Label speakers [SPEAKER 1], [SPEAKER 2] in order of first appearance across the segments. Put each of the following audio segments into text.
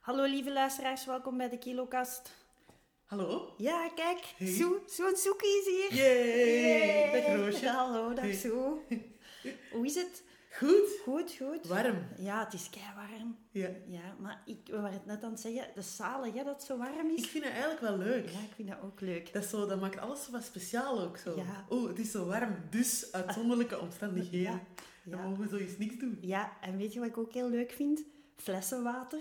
[SPEAKER 1] Hallo lieve luisteraars, welkom bij de Kilokast.
[SPEAKER 2] Hallo?
[SPEAKER 1] Ja, kijk,
[SPEAKER 2] Hey.
[SPEAKER 1] Soe, Soe Soekie is hier.
[SPEAKER 2] Yay!
[SPEAKER 1] Yay.
[SPEAKER 2] Dag Roosje.
[SPEAKER 1] Hallo, dag
[SPEAKER 2] Hey.
[SPEAKER 1] Soe. Hoe is het?
[SPEAKER 2] Goed?
[SPEAKER 1] Goed, goed.
[SPEAKER 2] Warm.
[SPEAKER 1] Ja, het is kei warm.
[SPEAKER 2] Ja.
[SPEAKER 1] Ja, maar ik, we waren het net aan het zeggen, de zalen, ja, dat het zo warm
[SPEAKER 2] Ik
[SPEAKER 1] is.
[SPEAKER 2] vind het eigenlijk wel leuk.
[SPEAKER 1] Ja, ik vind dat ook leuk.
[SPEAKER 2] Dat, is zo, dat maakt alles zo wat speciaal ook zo.
[SPEAKER 1] Ja.
[SPEAKER 2] Oeh, het is zo warm, dus uitzonderlijke omstandigheden.
[SPEAKER 1] Ja,
[SPEAKER 2] Dan
[SPEAKER 1] ja.
[SPEAKER 2] mogen we zoiets niks doen.
[SPEAKER 1] ja, en weet je wat ik ook heel leuk vind? Flessenwater.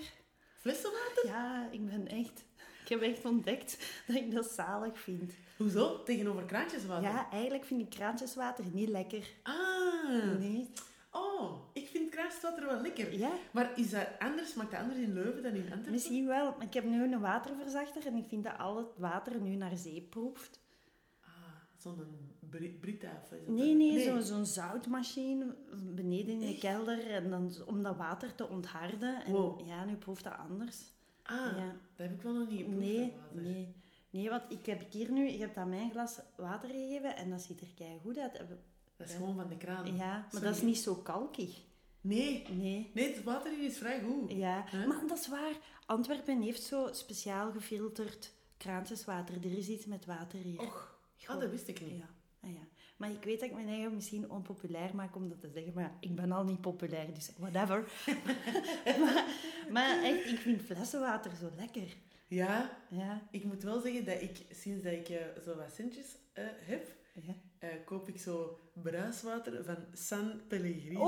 [SPEAKER 2] Flessenwater?
[SPEAKER 1] Ja, ik ben echt... Ik heb echt ontdekt dat ik dat zalig vind.
[SPEAKER 2] Hoezo? Tegenover kraantjeswater?
[SPEAKER 1] Ja, eigenlijk vind ik kraantjeswater niet lekker.
[SPEAKER 2] Ah.
[SPEAKER 1] Nee.
[SPEAKER 2] Oh, ik vind kraantjeswater wel lekker.
[SPEAKER 1] Ja,
[SPEAKER 2] Maar is dat anders? Maakt dat anders in Leuven dan in Antwerpen?
[SPEAKER 1] Misschien wel, maar ik heb nu een waterverzachter en ik vind dat al het water nu naar zee proeft.
[SPEAKER 2] Ah, zo'n Bri- Brita of is dat
[SPEAKER 1] Nee,
[SPEAKER 2] dan?
[SPEAKER 1] nee, zo- zo'n zoutmachine beneden in de kelder en dan, z- om dat water te ontharden. En
[SPEAKER 2] Wow.
[SPEAKER 1] ja, nu proeft dat anders.
[SPEAKER 2] Ah,
[SPEAKER 1] Ja.
[SPEAKER 2] dat heb ik wel nog niet geproefd.
[SPEAKER 1] Nee,
[SPEAKER 2] dat water.
[SPEAKER 1] nee. Nee, want ik heb hier nu, ik heb dat mijn glas water gegeven en dat ziet er keigoed uit. Eh,
[SPEAKER 2] Dat is gewoon van de kraan.
[SPEAKER 1] Ja, maar dat is
[SPEAKER 2] Sorry.
[SPEAKER 1] niet zo kalkig.
[SPEAKER 2] Nee.
[SPEAKER 1] Nee.
[SPEAKER 2] Nee, het water hier is vrij goed.
[SPEAKER 1] Ja,
[SPEAKER 2] Hè?
[SPEAKER 1] maar dat is waar. Antwerpen heeft zo speciaal gefilterd kraantjeswater. Er is iets met water hier.
[SPEAKER 2] Och, ah, dat wist ik niet.
[SPEAKER 1] Ja. Ah, ja. Maar ik weet dat ik mijn eigen misschien onpopulair maak om dat te zeggen, maar ik ben al niet populair, dus whatever. maar, maar echt, ik vind flessenwater zo lekker.
[SPEAKER 2] Ja,
[SPEAKER 1] Ja,
[SPEAKER 2] ik moet wel zeggen dat ik sinds dat ik eh, zo wat centjes eh, heb,
[SPEAKER 1] ja.
[SPEAKER 2] eh, koop ik zo bruiswater van San Pellegrino. En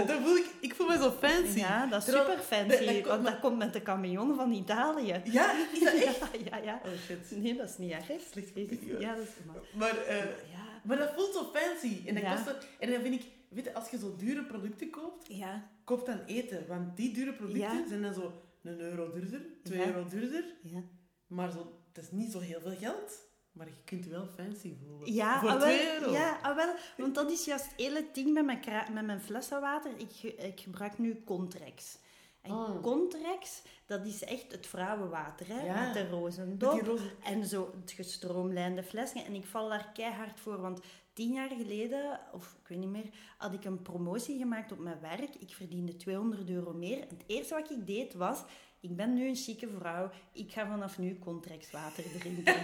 [SPEAKER 1] Oh!
[SPEAKER 2] dan voel ik, ik voel me zo fancy.
[SPEAKER 1] Ja, dat is
[SPEAKER 2] Terwijl-
[SPEAKER 1] super
[SPEAKER 2] dat- dat
[SPEAKER 1] fancy,
[SPEAKER 2] komt
[SPEAKER 1] want
[SPEAKER 2] maar-
[SPEAKER 1] dat komt met de camion van Italië.
[SPEAKER 2] Ja, is dat echt?
[SPEAKER 1] Ja, ja, ja.
[SPEAKER 2] Oh shit.
[SPEAKER 1] Nee, dat is niet erg.
[SPEAKER 2] Slecht
[SPEAKER 1] Is-
[SPEAKER 2] video.
[SPEAKER 1] Ja, dat is maar.
[SPEAKER 2] Maar, eh,
[SPEAKER 1] Ja,
[SPEAKER 2] maar dat voelt zo fancy. En, dat
[SPEAKER 1] Ja.
[SPEAKER 2] kost dan- en dan vind ik, weet je, als je zo dure producten koopt,
[SPEAKER 1] ja,
[SPEAKER 2] koop dan eten. Want die dure producten
[SPEAKER 1] Ja.
[SPEAKER 2] zijn dan zo een euro duurder, twee
[SPEAKER 1] Ja.
[SPEAKER 2] euro duurder.
[SPEAKER 1] ja.
[SPEAKER 2] Maar zo, het is niet zo heel veel geld. Maar je kunt je wel fancy voelen.
[SPEAKER 1] Ja,
[SPEAKER 2] Voor
[SPEAKER 1] ah wel,
[SPEAKER 2] 2 euro.
[SPEAKER 1] Ja, ah wel, want dat is juist het hele ding met mijn, kra- met mijn flessenwater. Ik, ge- ik gebruik nu Contrex. En
[SPEAKER 2] Oh.
[SPEAKER 1] Contrex, dat is echt het vrouwenwater, hè?
[SPEAKER 2] Ja.
[SPEAKER 1] met de
[SPEAKER 2] Met
[SPEAKER 1] rozendop
[SPEAKER 2] die roze-
[SPEAKER 1] en zo het gestroomlijnde flesje. En ik val daar keihard voor, want tien jaar geleden, of ik weet niet meer, had ik een promotie gemaakt op mijn werk. Ik verdiende 200 euro meer. En het eerste wat ik deed was, ik ben nu een chique vrouw, ik ga vanaf nu Contrex water drinken.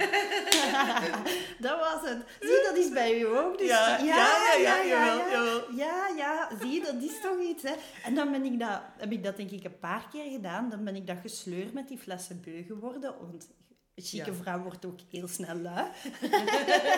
[SPEAKER 1] dat was het. Zie, dat is bij u ook. Dus,
[SPEAKER 2] ja, ja, ja, ja, jawel,
[SPEAKER 1] ja.
[SPEAKER 2] jawel.
[SPEAKER 1] Ja, ja, zie, je, dat is toch iets, hè. En dan ben ik dat, heb ik dat denk ik een paar keer gedaan. Dan ben ik dat gesleurd met die flessen beu geworden. Want een chique
[SPEAKER 2] Ja.
[SPEAKER 1] vrouw wordt ook heel snel lui.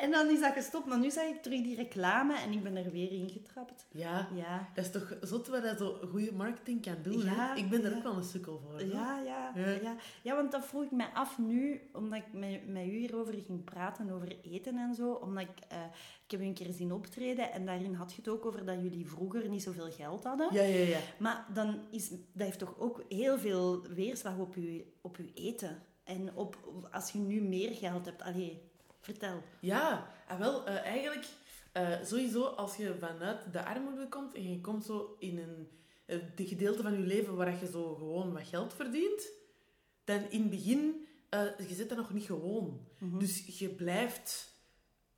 [SPEAKER 1] en dan is dat gestopt. Maar nu zag ik terug die reclame en ik ben er weer ingetrapt.
[SPEAKER 2] Ja,
[SPEAKER 1] Ja,
[SPEAKER 2] dat is toch zot wat dat zo goede marketing kan doen. hè?
[SPEAKER 1] Ja,
[SPEAKER 2] ik ben daar
[SPEAKER 1] ja.
[SPEAKER 2] ook wel een sukkel voor. hoor.
[SPEAKER 1] ja, ja,
[SPEAKER 2] Ja.
[SPEAKER 1] ja. Ja, want dat vroeg ik mij af nu, omdat ik met, met u hierover ging praten, over eten en zo. Omdat ik, eh, ik heb u een keer zien optreden en daarin had je het ook over dat jullie vroeger niet zoveel geld hadden.
[SPEAKER 2] Ja, ja, ja.
[SPEAKER 1] Maar dan is, dat heeft toch ook heel veel weerslag op je, op je eten. En op, als je nu meer geld hebt. Allee, vertel.
[SPEAKER 2] Ja, ah, wel, eh, eigenlijk eh, sowieso als je vanuit de armoede komt en je komt zo in een eh, de gedeelte van je leven waar je zo gewoon wat geld verdient, dan in het begin, eh, je zit dat nog niet gewoon. Dus je blijft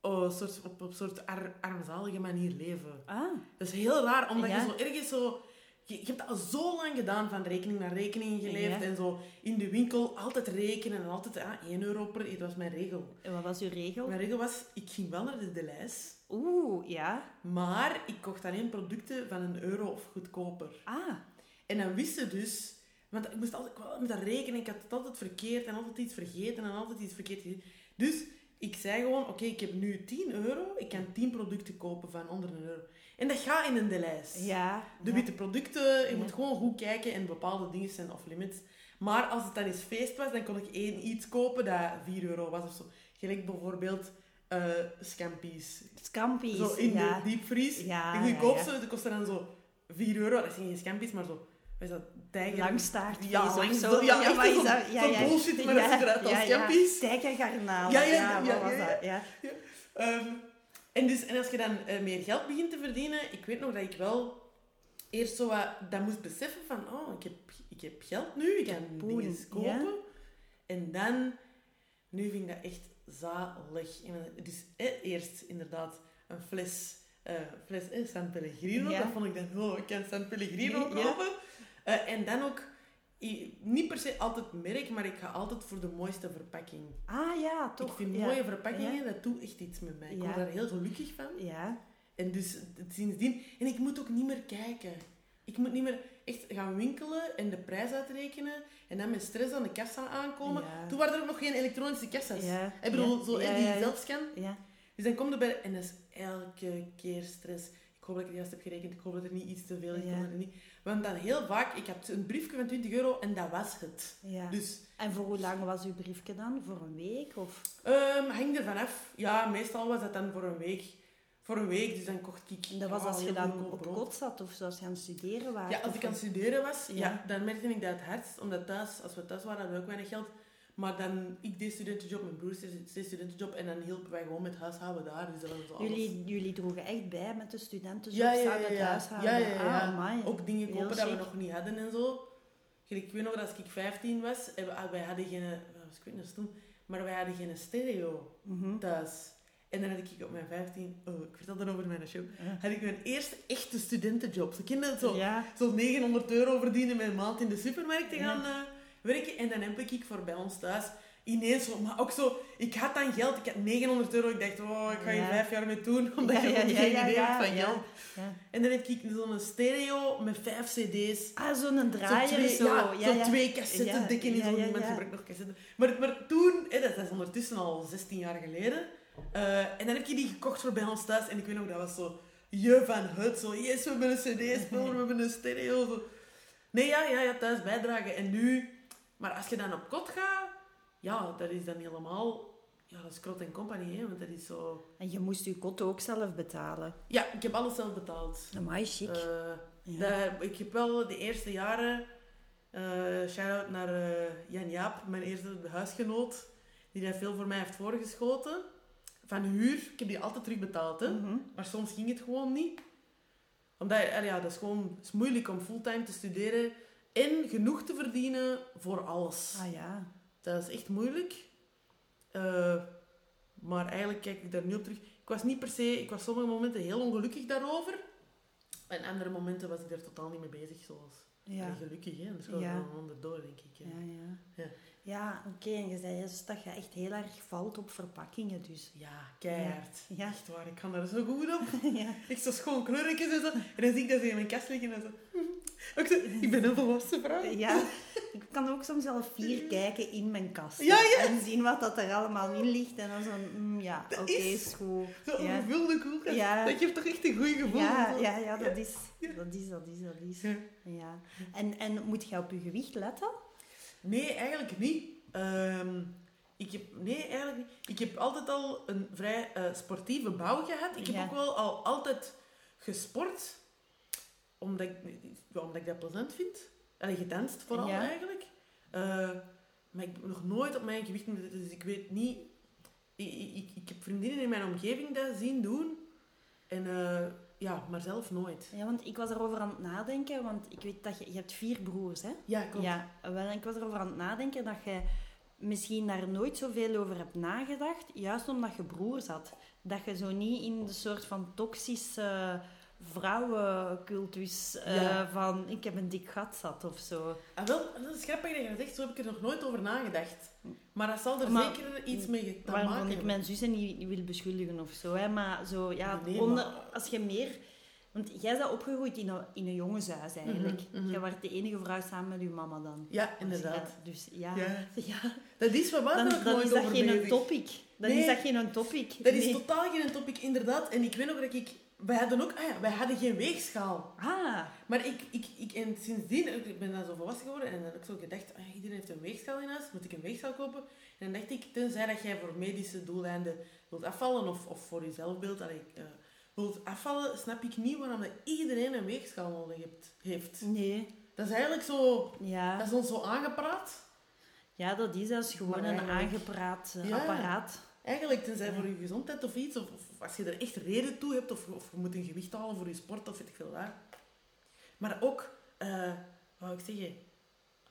[SPEAKER 2] oh, soort, op een soort ar- armzalige manier leven.
[SPEAKER 1] Ah,
[SPEAKER 2] Dat is heel raar, omdat
[SPEAKER 1] Ja.
[SPEAKER 2] je zo ergens zo... Je, je hebt dat al zo lang gedaan, van rekening naar rekening geleefd.
[SPEAKER 1] Ja.
[SPEAKER 2] En zo in de winkel altijd rekenen en altijd ah, 1 euro per... Dat was mijn regel.
[SPEAKER 1] en wat was uw regel?
[SPEAKER 2] Mijn regel was, ik ging wel naar de Delijs,
[SPEAKER 1] Oeh, ja.
[SPEAKER 2] maar ik kocht alleen producten van een euro of goedkoper.
[SPEAKER 1] Ah,
[SPEAKER 2] En dan wist ze dus, want ik moest altijd ik wou altijd met dat rekenen, ik had het altijd verkeerd en altijd iets vergeten en altijd iets verkeerd gezien. Dus ik zei gewoon, oké, ik heb nu 10 euro, ik kan 10 producten kopen van onder een euro. En dat gaat in een Delijs.
[SPEAKER 1] ja.
[SPEAKER 2] De
[SPEAKER 1] ja.
[SPEAKER 2] witte producten, je
[SPEAKER 1] Ja.
[SPEAKER 2] moet gewoon goed kijken en bepaalde dingen zijn off-limits. Maar als het dan eens feest was, dan kon ik één iets kopen dat 4 euro was of zo. Gelijk bijvoorbeeld eh scampi's.
[SPEAKER 1] Scampi's.
[SPEAKER 2] Zo in
[SPEAKER 1] ja.
[SPEAKER 2] de diepvries.
[SPEAKER 1] Ja,
[SPEAKER 2] de
[SPEAKER 1] ja,
[SPEAKER 2] goedkoopste, die kostte dan zo 4 euro. Dat zijn geen scampi's, maar zo... Wat is dat? Tijger...
[SPEAKER 1] Langstaartvis
[SPEAKER 2] Ja,
[SPEAKER 1] of
[SPEAKER 2] langs-
[SPEAKER 1] zo.
[SPEAKER 2] ja, echt
[SPEAKER 1] wat is
[SPEAKER 2] zo'n-
[SPEAKER 1] dat?
[SPEAKER 2] zo'n bullshit, maar dat ziet eruit als scampi's.
[SPEAKER 1] Tijgergarnalen. Ja, ja,
[SPEAKER 2] Ja, ja,
[SPEAKER 1] ja,
[SPEAKER 2] ja,
[SPEAKER 1] wat was
[SPEAKER 2] ja,
[SPEAKER 1] dat? Ja.
[SPEAKER 2] Ehm, en, dus, en als je dan eh, meer geld begint te verdienen, ik weet nog dat ik wel eerst zo wat dat moest beseffen van, oh, ik heb, ik heb geld nu, ik kan
[SPEAKER 1] poen,
[SPEAKER 2] dingen kopen.
[SPEAKER 1] ja.
[SPEAKER 2] En dan, nu vind ik dat echt zalig. En dan- dus eh, eerst inderdaad een fles, eh, fles eh, San Pellegrino,
[SPEAKER 1] Ja.
[SPEAKER 2] dat vond ik dan, oh, ik kan San Pellegrino
[SPEAKER 1] Ja.
[SPEAKER 2] kopen. Eh, en dan ook, i- niet per se altijd merk, maar ik ga altijd voor de mooiste verpakking.
[SPEAKER 1] Ah ja, toch.
[SPEAKER 2] ik vind
[SPEAKER 1] ja.
[SPEAKER 2] mooie verpakkingen, dat doet echt iets met mij. Ik
[SPEAKER 1] Ja.
[SPEAKER 2] word daar heel gelukkig van.
[SPEAKER 1] Ja,
[SPEAKER 2] En dus het- sindsdien... En ik moet ook niet meer kijken. Ik moet niet meer echt gaan winkelen en de prijs uitrekenen. En dan met stress aan de kassa aankomen.
[SPEAKER 1] Ja.
[SPEAKER 2] Toen waren er ook nog geen elektronische kassas.
[SPEAKER 1] Ja.
[SPEAKER 2] Ik bedoel,
[SPEAKER 1] Ja.
[SPEAKER 2] zo
[SPEAKER 1] Ja,
[SPEAKER 2] en die
[SPEAKER 1] ja,
[SPEAKER 2] je
[SPEAKER 1] ja.
[SPEAKER 2] zelf kan.
[SPEAKER 1] ja.
[SPEAKER 2] Dus dan kom je bij... En dat is elke keer stress. Ik hoop dat ik het juist heb gerekend. Ik hoop dat er niet iets te veel is. Ik
[SPEAKER 1] Ja.
[SPEAKER 2] hoop dat er niet... Want dan heel vaak... Ik heb een briefje van 20 euro en dat was het.
[SPEAKER 1] ja.
[SPEAKER 2] Dus...
[SPEAKER 1] En voor hoe lang was uw briefje dan? Voor een week? Of...
[SPEAKER 2] Ehm hing er vanaf. Ja, meestal was dat dan voor een week. Voor een week, dus dan kocht ik...
[SPEAKER 1] Dat was
[SPEAKER 2] ja,
[SPEAKER 1] als je
[SPEAKER 2] heel
[SPEAKER 1] dan
[SPEAKER 2] goedkoop
[SPEAKER 1] op
[SPEAKER 2] brood.
[SPEAKER 1] kot zat of zoals gaan studeren waart.
[SPEAKER 2] Ja, als
[SPEAKER 1] of
[SPEAKER 2] ik aan
[SPEAKER 1] een-
[SPEAKER 2] het studeren was, ja.
[SPEAKER 1] Ja.
[SPEAKER 2] dan merkte ik dat het hardst. Omdat thuis, als we thuis waren, hadden we ook weinig geld. Maar dan, ik deed studentenjob, mijn broer deed studentenjob. En dan hielpen wij gewoon met huishouden daar. Dus dat was alles.
[SPEAKER 1] jullie, jullie droegen echt bij met de studenten,
[SPEAKER 2] Ja, ja,
[SPEAKER 1] samen
[SPEAKER 2] ja, ja.
[SPEAKER 1] thuis
[SPEAKER 2] Ja,
[SPEAKER 1] houden.
[SPEAKER 2] ja,
[SPEAKER 1] Ah,
[SPEAKER 2] ja.
[SPEAKER 1] amai.
[SPEAKER 2] Ook dingen
[SPEAKER 1] Heel
[SPEAKER 2] kopen dat we
[SPEAKER 1] chic.
[SPEAKER 2] nog niet hadden en zo. Ik weet nog dat als ik 15 was, en we- wij hadden geen... wat was Ik weet niet, dat is toen. Maar wij hadden geen stereo.
[SPEAKER 1] Mhm.
[SPEAKER 2] thuis. En dan had ik op mijn 15, oh, ik vertelde over mijn show,
[SPEAKER 1] Ja.
[SPEAKER 2] had ik mijn eerste echte studentenjob. Ze kinderen zo,
[SPEAKER 1] Ja.
[SPEAKER 2] zo 900 euro verdienen met een maand in de supermarkt te
[SPEAKER 1] Ja.
[SPEAKER 2] gaan eh, werken. En dan heb ik voor bij ons thuis ineens zo, maar ook zo, ik had dan geld, ik had 900 euro. Ik dacht, oh, ik ga hier
[SPEAKER 1] Ja.
[SPEAKER 2] vijf jaar mee doen, omdat je gewoon geen idee hebt van geld.
[SPEAKER 1] ja.
[SPEAKER 2] En dan heb ik zo'n stereo met vijf cd's.
[SPEAKER 1] Ah, zo'n draaier
[SPEAKER 2] Zo twee,
[SPEAKER 1] zo.
[SPEAKER 2] ja,
[SPEAKER 1] Ja,
[SPEAKER 2] zo
[SPEAKER 1] ja.
[SPEAKER 2] twee cassetten
[SPEAKER 1] Ja,
[SPEAKER 2] dikke in
[SPEAKER 1] ja,
[SPEAKER 2] zo'n
[SPEAKER 1] ja,
[SPEAKER 2] mensen
[SPEAKER 1] ja.
[SPEAKER 2] gebruiken nog cassetten. Maar, maar toen, hè, dat dat is ondertussen al 16 jaar geleden. eh, en dan heb je die gekocht voor bij ons thuis. En ik weet nog, dat was zo je van het. Zo, yes, we hebben een cd-speler, we hebben een stereo. Zo. Nee, ja, ja, ja, thuis bijdragen. En nu... Maar als je dan op kot gaat, ja, dat is dan helemaal... Ja, dat is Krot en Company, hè, want dat is zo...
[SPEAKER 1] En je moest je kot ook zelf betalen.
[SPEAKER 2] Ja, ik heb alles zelf betaald.
[SPEAKER 1] Amai, chic.
[SPEAKER 2] Eh,
[SPEAKER 1] Ja.
[SPEAKER 2] daar- ik heb wel de eerste jaren, eh shout-out naar eh, Jan Jaap, mijn eerste huisgenoot, die daar veel voor mij heeft voorgeschoten. Van huur, ik heb die altijd terugbetaald. Hè?
[SPEAKER 1] Mhm.
[SPEAKER 2] Maar soms ging het gewoon niet. Omdat, eh, ja, dat is gewoon het is moeilijk om fulltime te studeren en genoeg te verdienen voor alles.
[SPEAKER 1] Ah ja.
[SPEAKER 2] Dat is echt moeilijk. Eh, maar eigenlijk kijk ik daar nu op terug. Ik was niet per se, ik was sommige momenten heel ongelukkig daarover. En andere momenten was ik daar totaal niet mee bezig. Zoals
[SPEAKER 1] Ja.
[SPEAKER 2] En gelukkig, hè? anders gaan
[SPEAKER 1] Ja.
[SPEAKER 2] we onderdoor, denk ik. hè.
[SPEAKER 1] Ja, ja.
[SPEAKER 2] Ja.
[SPEAKER 1] Ja, oké. En je zei dus dat je echt heel erg valt op verpakkingen dus.
[SPEAKER 2] Ja, keihard.
[SPEAKER 1] Ja. Ja.
[SPEAKER 2] Echt waar, ik kan daar zo goed op.
[SPEAKER 1] ja.
[SPEAKER 2] Ik zo schoon kleurtjes en zo. En dan zie ik dat ze in mijn kast liggen en zo. Ik, zo, ik ben een volwassen vrouw.
[SPEAKER 1] Ja, ik kan ook soms zelf vier kijken in mijn kast.
[SPEAKER 2] Ja, ja.
[SPEAKER 1] En zien wat dat er allemaal in ligt. En dan zo, mm, ja, oké,
[SPEAKER 2] Dat is-
[SPEAKER 1] is goed.
[SPEAKER 2] Zo'n
[SPEAKER 1] ja.
[SPEAKER 2] gevulde koelkast.
[SPEAKER 1] Ja.
[SPEAKER 2] Dat geeft toch echt een goed gevoel.
[SPEAKER 1] Ja,
[SPEAKER 2] zo.
[SPEAKER 1] ja, ja, dat
[SPEAKER 2] Ja.
[SPEAKER 1] is, dat is, dat is, dat is.
[SPEAKER 2] Ja.
[SPEAKER 1] Ja. En, en moet je op je gewicht letten?
[SPEAKER 2] Nee, eigenlijk niet. Ehm, ik heb, nee, eigenlijk niet. Ik heb altijd al een vrij eh, sportieve bouw gehad. Ik heb
[SPEAKER 1] Ja.
[SPEAKER 2] ook wel al altijd gesport. Omdat ik, ja, omdat ik dat plezant vind. En gedanst vooral
[SPEAKER 1] Ja.
[SPEAKER 2] eigenlijk. Eh, maar ik ben nog nooit op mijn gewicht. moeten- Dus ik weet niet... Ik, ik, ik- ik heb vriendinnen in mijn omgeving dat zien doen. En eh, ja, maar zelf nooit.
[SPEAKER 1] Ja, want ik was erover aan het nadenken, want ik weet dat je, je hebt vier broers, hè?
[SPEAKER 2] Ja, klopt.
[SPEAKER 1] Ja, wel, ik was erover aan het nadenken dat je misschien daar nooit zoveel over hebt nagedacht, juist omdat je broers had. Dat je zo niet in de soort van toxische vrouwencultus eh,
[SPEAKER 2] Ja.
[SPEAKER 1] van ik heb een dik gat zat of zo.
[SPEAKER 2] Ah, wel, dat is grappig dat je dat zegt. Zo heb ik er nog nooit over nagedacht. Maar dat zal er
[SPEAKER 1] Maar-
[SPEAKER 2] zeker iets mee te maken
[SPEAKER 1] Waarvan ik
[SPEAKER 2] hebben.
[SPEAKER 1] mijn zussen niet, niet wil beschuldigen of zo. Hè, maar zo, ja,
[SPEAKER 2] Nee,
[SPEAKER 1] onder-
[SPEAKER 2] maar-
[SPEAKER 1] als je meer... Want jij bent opgegroeid in een, in een jongenshuis eigenlijk.
[SPEAKER 2] Mhm, mhm.
[SPEAKER 1] Jij werd de enige vrouw samen met je mama dan.
[SPEAKER 2] Ja, inderdaad.
[SPEAKER 1] Dus ja,
[SPEAKER 2] Ja.
[SPEAKER 1] ja.
[SPEAKER 2] Dat is wat waar
[SPEAKER 1] dan,
[SPEAKER 2] ik
[SPEAKER 1] dan
[SPEAKER 2] nooit
[SPEAKER 1] is dat
[SPEAKER 2] over
[SPEAKER 1] geen
[SPEAKER 2] bezig.
[SPEAKER 1] topic. Dan
[SPEAKER 2] Nee.
[SPEAKER 1] is dat geen topic.
[SPEAKER 2] Dat is
[SPEAKER 1] Nee.
[SPEAKER 2] totaal geen topic, inderdaad. En ik weet nog dat ik... Wij hadden ook... Ah ja, wij hadden geen weegschaal.
[SPEAKER 1] Ah,
[SPEAKER 2] Maar ik... ik, ik en sindsdien... Ik ben dan zo volwassen geworden. En dan heb ik zo gedacht... Ah, iedereen heeft een weegschaal in huis. Moet ik een weegschaal kopen? En dan dacht ik... Tenzij dat jij voor medische doeleinden wilt afvallen. Of, of voor je zelfbeeld. allee, eh, wilt afvallen. Snap ik niet waarom dat iedereen een weegschaal nodig hebt- heeft.
[SPEAKER 1] nee.
[SPEAKER 2] Dat is eigenlijk zo... Dat
[SPEAKER 1] Ja,
[SPEAKER 2] is ons zo aangepraat.
[SPEAKER 1] ja dat is als gewoon
[SPEAKER 2] Maar
[SPEAKER 1] een
[SPEAKER 2] eigenlijk-
[SPEAKER 1] aangepraat eh,
[SPEAKER 2] Ja.
[SPEAKER 1] apparaat.
[SPEAKER 2] Eigenlijk, tenzij voor je gezondheid of iets, of, of als je er echt reden toe hebt, of, of je moet een gewicht halen voor je sport, of weet ik veel waar. Maar ook, eh wat wou ik zeggen?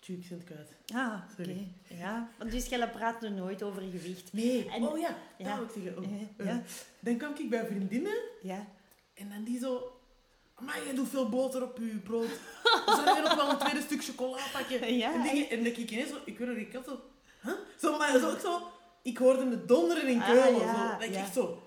[SPEAKER 2] Tjoe, ik ben het kwijt.
[SPEAKER 1] Ah, oké.
[SPEAKER 2] Sorry.
[SPEAKER 1] Ja. Want dus jij praat nu nooit over gewicht.
[SPEAKER 2] Nee,
[SPEAKER 1] En-
[SPEAKER 2] oh ja, dat
[SPEAKER 1] ja.
[SPEAKER 2] wou ik zeggen. Oh,
[SPEAKER 1] Eh,
[SPEAKER 2] eh.
[SPEAKER 1] ja.
[SPEAKER 2] Dan kwam ik bij vriendinnen
[SPEAKER 1] Ja.
[SPEAKER 2] en dan die zo... Maar je doet veel boter op je brood. Zou je nog wel een tweede stuk chocola pakken?
[SPEAKER 1] Ja,
[SPEAKER 2] en, dingen, en dat ik ineens zo, ik weet nog, ik had zo, huh? zo, maar zo, ook zo, ik hoorde het donderen in
[SPEAKER 1] Ah,
[SPEAKER 2] Keulen.
[SPEAKER 1] ja,
[SPEAKER 2] zo, dat ik
[SPEAKER 1] ja.
[SPEAKER 2] echt zo,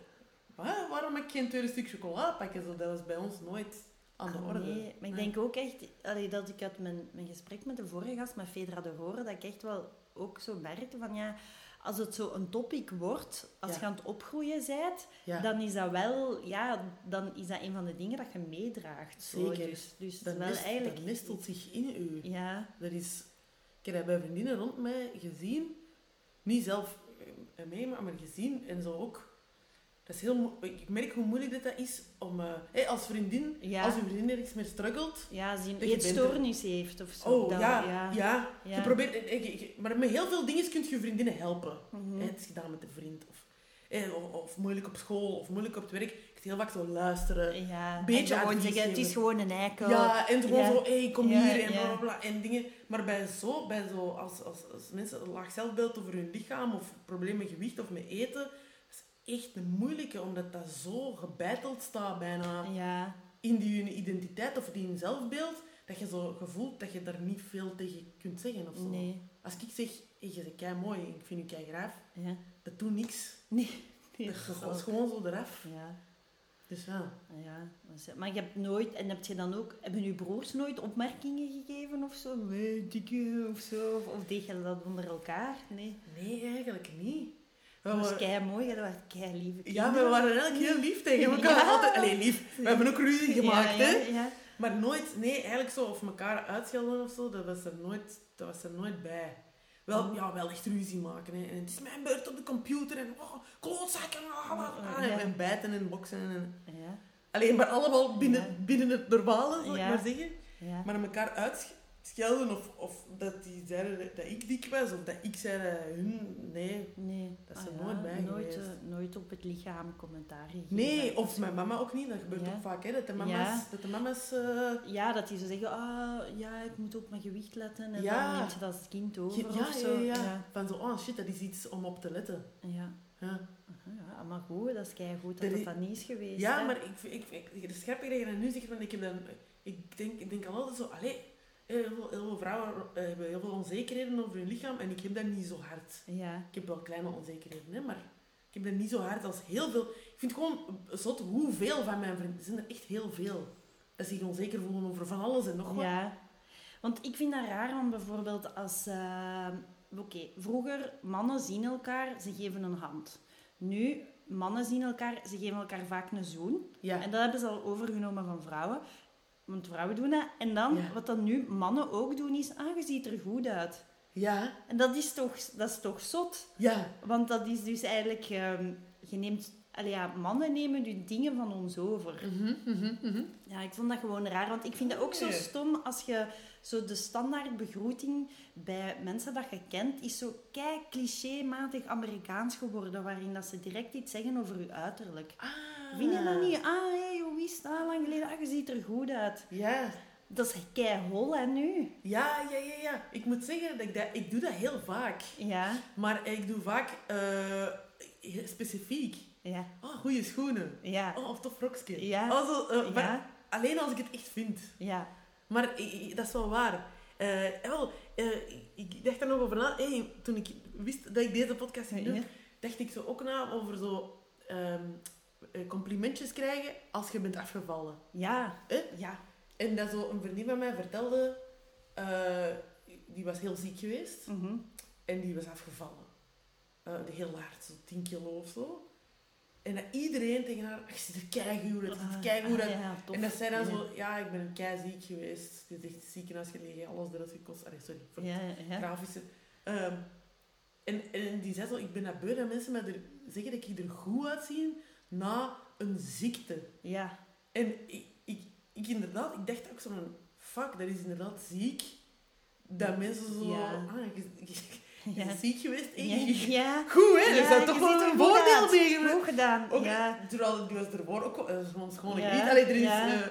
[SPEAKER 2] "Wa- waarom mag ik geen tweede stuk chocola pakken? Zo, dat was bij ons nooit aan de
[SPEAKER 1] Ah,
[SPEAKER 2] orde.
[SPEAKER 1] Nee, maar ik denk ook echt allee, dat ik uit mijn, mijn gesprek met de vorige gast, met Fedra de Horen, dat ik echt wel ook zo merkte van ja, als het zo een topic wordt, als
[SPEAKER 2] Ja.
[SPEAKER 1] je aan het opgroeien bent,
[SPEAKER 2] Ja.
[SPEAKER 1] dan is dat wel, ja, dan is dat een van de dingen dat je meedraagt. Zo.
[SPEAKER 2] Zeker.
[SPEAKER 1] Dus, dus
[SPEAKER 2] dat,
[SPEAKER 1] wel
[SPEAKER 2] nest-
[SPEAKER 1] eigenlijk.
[SPEAKER 2] dat nestelt zich in u.
[SPEAKER 1] Ja,
[SPEAKER 2] Dat is... Ik heb dat bij vriendinnen rond mij gezien. Niet zelf eh, mee, maar maar gezien. En zo ook. Dat is heel, mo- ik merk hoe moeilijk dit dat is om... eh, hé, als vriendin,
[SPEAKER 1] Ja.
[SPEAKER 2] als je vriendin ergens mee struggelt...
[SPEAKER 1] ja als je een
[SPEAKER 2] Dat je bent er.
[SPEAKER 1] eetstoornis heeft of zo.
[SPEAKER 2] Oh,
[SPEAKER 1] dan-
[SPEAKER 2] ja, ja,
[SPEAKER 1] ja.
[SPEAKER 2] Je
[SPEAKER 1] ja.
[SPEAKER 2] probeert, eh, eh, je- je- maar met heel veel dingen kun je je vriendinnen helpen.
[SPEAKER 1] Mhm.
[SPEAKER 2] Hé, Het is gedaan met een vriend. Of, hé, of, of moeilijk op school, of moeilijk op het werk. Ik moet heel vaak zo luisteren.
[SPEAKER 1] Ja, en
[SPEAKER 2] eh, beetje
[SPEAKER 1] gewoon
[SPEAKER 2] advies
[SPEAKER 1] zeggen, het is
[SPEAKER 2] geven.
[SPEAKER 1] gewoon een eikel.
[SPEAKER 2] Ja, en gewoon
[SPEAKER 1] Ja.
[SPEAKER 2] zo, hé, kom
[SPEAKER 1] Ja,
[SPEAKER 2] hier en
[SPEAKER 1] ja.
[SPEAKER 2] bla bla bla en dingen. Maar bij zo, bij zo als, als, als mensen een laag zelfbeeld over hun lichaam of problemen met gewicht of met eten, dat is echt een moeilijke, omdat dat zo gebeiteld staat bijna
[SPEAKER 1] ja.
[SPEAKER 2] in die hun identiteit of die hun zelfbeeld, dat je zo gevoelt dat je daar niet veel tegen kunt zeggen of zo.
[SPEAKER 1] nee.
[SPEAKER 2] Als ik zeg, hé, je bent kei mooi, ik vind je kei graaf,
[SPEAKER 1] Ja.
[SPEAKER 2] dat doet niks.
[SPEAKER 1] Nee. nee,
[SPEAKER 2] Dat
[SPEAKER 1] dat is
[SPEAKER 2] gaat
[SPEAKER 1] ook-
[SPEAKER 2] gewoon zo eraf.
[SPEAKER 1] Ja.
[SPEAKER 2] Dus ja.
[SPEAKER 1] Ja, dat is- maar je hebt nooit, en heb je dan ook, hebben je broers nooit opmerkingen gegeven of zo? Nee, dikke of zo? Of, of deed je dat onder elkaar? Nee.
[SPEAKER 2] Nee, eigenlijk niet. We
[SPEAKER 1] Dat was
[SPEAKER 2] waren-
[SPEAKER 1] kei mooi, dat waren kei lieve
[SPEAKER 2] Ja,
[SPEAKER 1] kinderen.
[SPEAKER 2] we waren eigenlijk heel lief tegen elkaar.
[SPEAKER 1] Ja.
[SPEAKER 2] Altijd, allee, lief. We hebben ook ruzie gemaakt,
[SPEAKER 1] ja, ja,
[SPEAKER 2] hè.
[SPEAKER 1] Ja,
[SPEAKER 2] Maar nooit, nee, eigenlijk zo, of elkaar uitschelden of zo, dat was er nooit, dat was er nooit bij. Wel,
[SPEAKER 1] Mm.
[SPEAKER 2] ja, wel echt ruzie maken, hè. En het is mijn beurt op de computer, en oh, klootzakken, ah, ah, ah, en,
[SPEAKER 1] Ja.
[SPEAKER 2] en bijten en boksen. En,
[SPEAKER 1] ja,
[SPEAKER 2] alleen maar allemaal binnen,
[SPEAKER 1] Ja.
[SPEAKER 2] binnen het verbale, zal
[SPEAKER 1] Ja.
[SPEAKER 2] ik maar zeggen.
[SPEAKER 1] ja.
[SPEAKER 2] Maar elkaar uitschelden, of, of dat die zeiden dat ik dik was, of dat ik zei dat hun, nee.
[SPEAKER 1] nee.
[SPEAKER 2] dat is
[SPEAKER 1] Ah
[SPEAKER 2] er
[SPEAKER 1] ja,
[SPEAKER 2] nooit bij
[SPEAKER 1] nooit,
[SPEAKER 2] geweest.
[SPEAKER 1] eh, nooit op het lichaam commentaar gegeven.
[SPEAKER 2] Nee, of mijn mama ook niet. Dat gebeurt
[SPEAKER 1] Ja.
[SPEAKER 2] ook vaak, hè. Dat de mama's... Dat de mama's eh,
[SPEAKER 1] Ja, dat die zo zeggen, ah, ja, ik moet op mijn gewicht letten. En
[SPEAKER 2] Ja.
[SPEAKER 1] dan neemt je dat als kind
[SPEAKER 2] ge-
[SPEAKER 1] over
[SPEAKER 2] ja,
[SPEAKER 1] of
[SPEAKER 2] ja,
[SPEAKER 1] zo.
[SPEAKER 2] ja,
[SPEAKER 1] ja.
[SPEAKER 2] Van zo, oh shit, dat is iets om op te letten.
[SPEAKER 1] ja.
[SPEAKER 2] Ja,
[SPEAKER 1] Aha, ja, Ah, maar goed, dat is kei goed
[SPEAKER 2] Er
[SPEAKER 1] dat dat,
[SPEAKER 2] is-
[SPEAKER 1] dat niet is geweest.
[SPEAKER 2] ja
[SPEAKER 1] hè.
[SPEAKER 2] maar ik, ik, ik, het is grappig dat je dat nu zegt, want ik, heb dan, ik, denk, ik denk al altijd zo... Allee, heel veel, heel veel vrouwen eh, hebben heel veel onzekerheden over hun lichaam en ik heb dat niet zo hard.
[SPEAKER 1] Ja,
[SPEAKER 2] Ik heb wel kleine onzekerheden, hè, maar ik heb dat niet zo hard als heel veel... Ik vind gewoon zot hoeveel van mijn vrienden... Er zijn er echt heel veel. Dat zich onzeker voelen over van alles en nog wat.
[SPEAKER 1] ja. Want ik vind dat raar, want bijvoorbeeld als... eh, Oké, vroeger, mannen zien elkaar, ze geven een hand. Nu, mannen zien elkaar, ze geven elkaar vaak een zoen.
[SPEAKER 2] Ja.
[SPEAKER 1] En dat hebben ze al overgenomen van vrouwen. Want vrouwen doen dat. En dan,
[SPEAKER 2] Ja.
[SPEAKER 1] wat dan nu mannen ook doen, is... Ah, je ziet er goed uit.
[SPEAKER 2] Ja.
[SPEAKER 1] En dat is toch, dat is toch zot?
[SPEAKER 2] Ja.
[SPEAKER 1] Want dat is dus eigenlijk... ehm, je neemt... allee, ja, mannen nemen nu dingen van ons over.
[SPEAKER 2] Mhm,
[SPEAKER 1] Ja, ik vond dat gewoon raar. Want ik vind dat ook zo
[SPEAKER 2] Nee.
[SPEAKER 1] stom als je zo de standaard begroeting bij mensen dat je kent, is zo kei clichématig Amerikaans geworden, waarin dat ze direct iets zeggen over je uiterlijk.
[SPEAKER 2] Ah.
[SPEAKER 1] Vind je dat niet? Ah, hé, hoe is het? Ah, lang geleden. Ah, je ziet er goed uit.
[SPEAKER 2] Ja.
[SPEAKER 1] Dat is kei hol, hè, nu?
[SPEAKER 2] Ja, ja, ja, ja. Ik moet zeggen dat ik dat... Ik doe dat heel vaak.
[SPEAKER 1] Ja,
[SPEAKER 2] Maar ik doe vaak eh, heel specifiek.
[SPEAKER 1] ja,
[SPEAKER 2] Oh, goede schoenen.
[SPEAKER 1] ja,
[SPEAKER 2] Oh, of tof rokje.
[SPEAKER 1] Ja.
[SPEAKER 2] Oh, zo, eh, maar
[SPEAKER 1] Ja.
[SPEAKER 2] Alleen als ik het echt vind.
[SPEAKER 1] ja.
[SPEAKER 2] Maar ik- ik- dat is wel waar. Eh, wel, eh, ik- ik dacht er nog over na. Hey, toen ik wist dat ik deze podcast ging doen,
[SPEAKER 1] Ja.
[SPEAKER 2] dacht ik zo ook na over zo... ehm, eh, complimentjes krijgen als je bent afgevallen.
[SPEAKER 1] Ja,
[SPEAKER 2] Eh?
[SPEAKER 1] ja.
[SPEAKER 2] En dat zo een vriendin van mij vertelde, eh, die was heel ziek geweest
[SPEAKER 1] Mhm.
[SPEAKER 2] en die was afgevallen. Eh, de heel hard, zo 10 kilo of zo. En dat iedereen tegen haar, "Ach, je ziet er keigoed uit, je ziet er keigoed
[SPEAKER 1] Ah,
[SPEAKER 2] uit."
[SPEAKER 1] ja, tof.
[SPEAKER 2] En dat zij dan
[SPEAKER 1] Ja.
[SPEAKER 2] zo, ja, ik ben keiziek geweest. Die is echt ziekenhuis gelegen, alles eruit gekost. Allee, sorry, voor
[SPEAKER 1] Ja,
[SPEAKER 2] het
[SPEAKER 1] ja.
[SPEAKER 2] grafische. Ehm, en, en die zei zo, ik ben dat beu dat mensen mij er, zeggen dat ik er goed uitzien na een ziekte.
[SPEAKER 1] Ja,
[SPEAKER 2] En ik, ik, ik inderdaad, ik dacht ook zo van, fuck, dat is inderdaad ziek. Dat mensen zo,
[SPEAKER 1] Ja.
[SPEAKER 2] ah, je, je- je
[SPEAKER 1] Ja.
[SPEAKER 2] bent ziek geweest.
[SPEAKER 1] ja.
[SPEAKER 2] en je-
[SPEAKER 1] ja.
[SPEAKER 2] Goed hè,
[SPEAKER 1] Ja,
[SPEAKER 2] er zat
[SPEAKER 1] je
[SPEAKER 2] toch
[SPEAKER 1] ziet
[SPEAKER 2] wel
[SPEAKER 1] er
[SPEAKER 2] een
[SPEAKER 1] goed
[SPEAKER 2] voordeel
[SPEAKER 1] uit.
[SPEAKER 2] tegen.
[SPEAKER 1] Goed gedaan.
[SPEAKER 2] Ook,
[SPEAKER 1] ja.
[SPEAKER 2] Terwijl die was ervoor ook wel- eh, gewoon schoon
[SPEAKER 1] Ja,
[SPEAKER 2] niet. Allee, er is,
[SPEAKER 1] ja.
[SPEAKER 2] eh,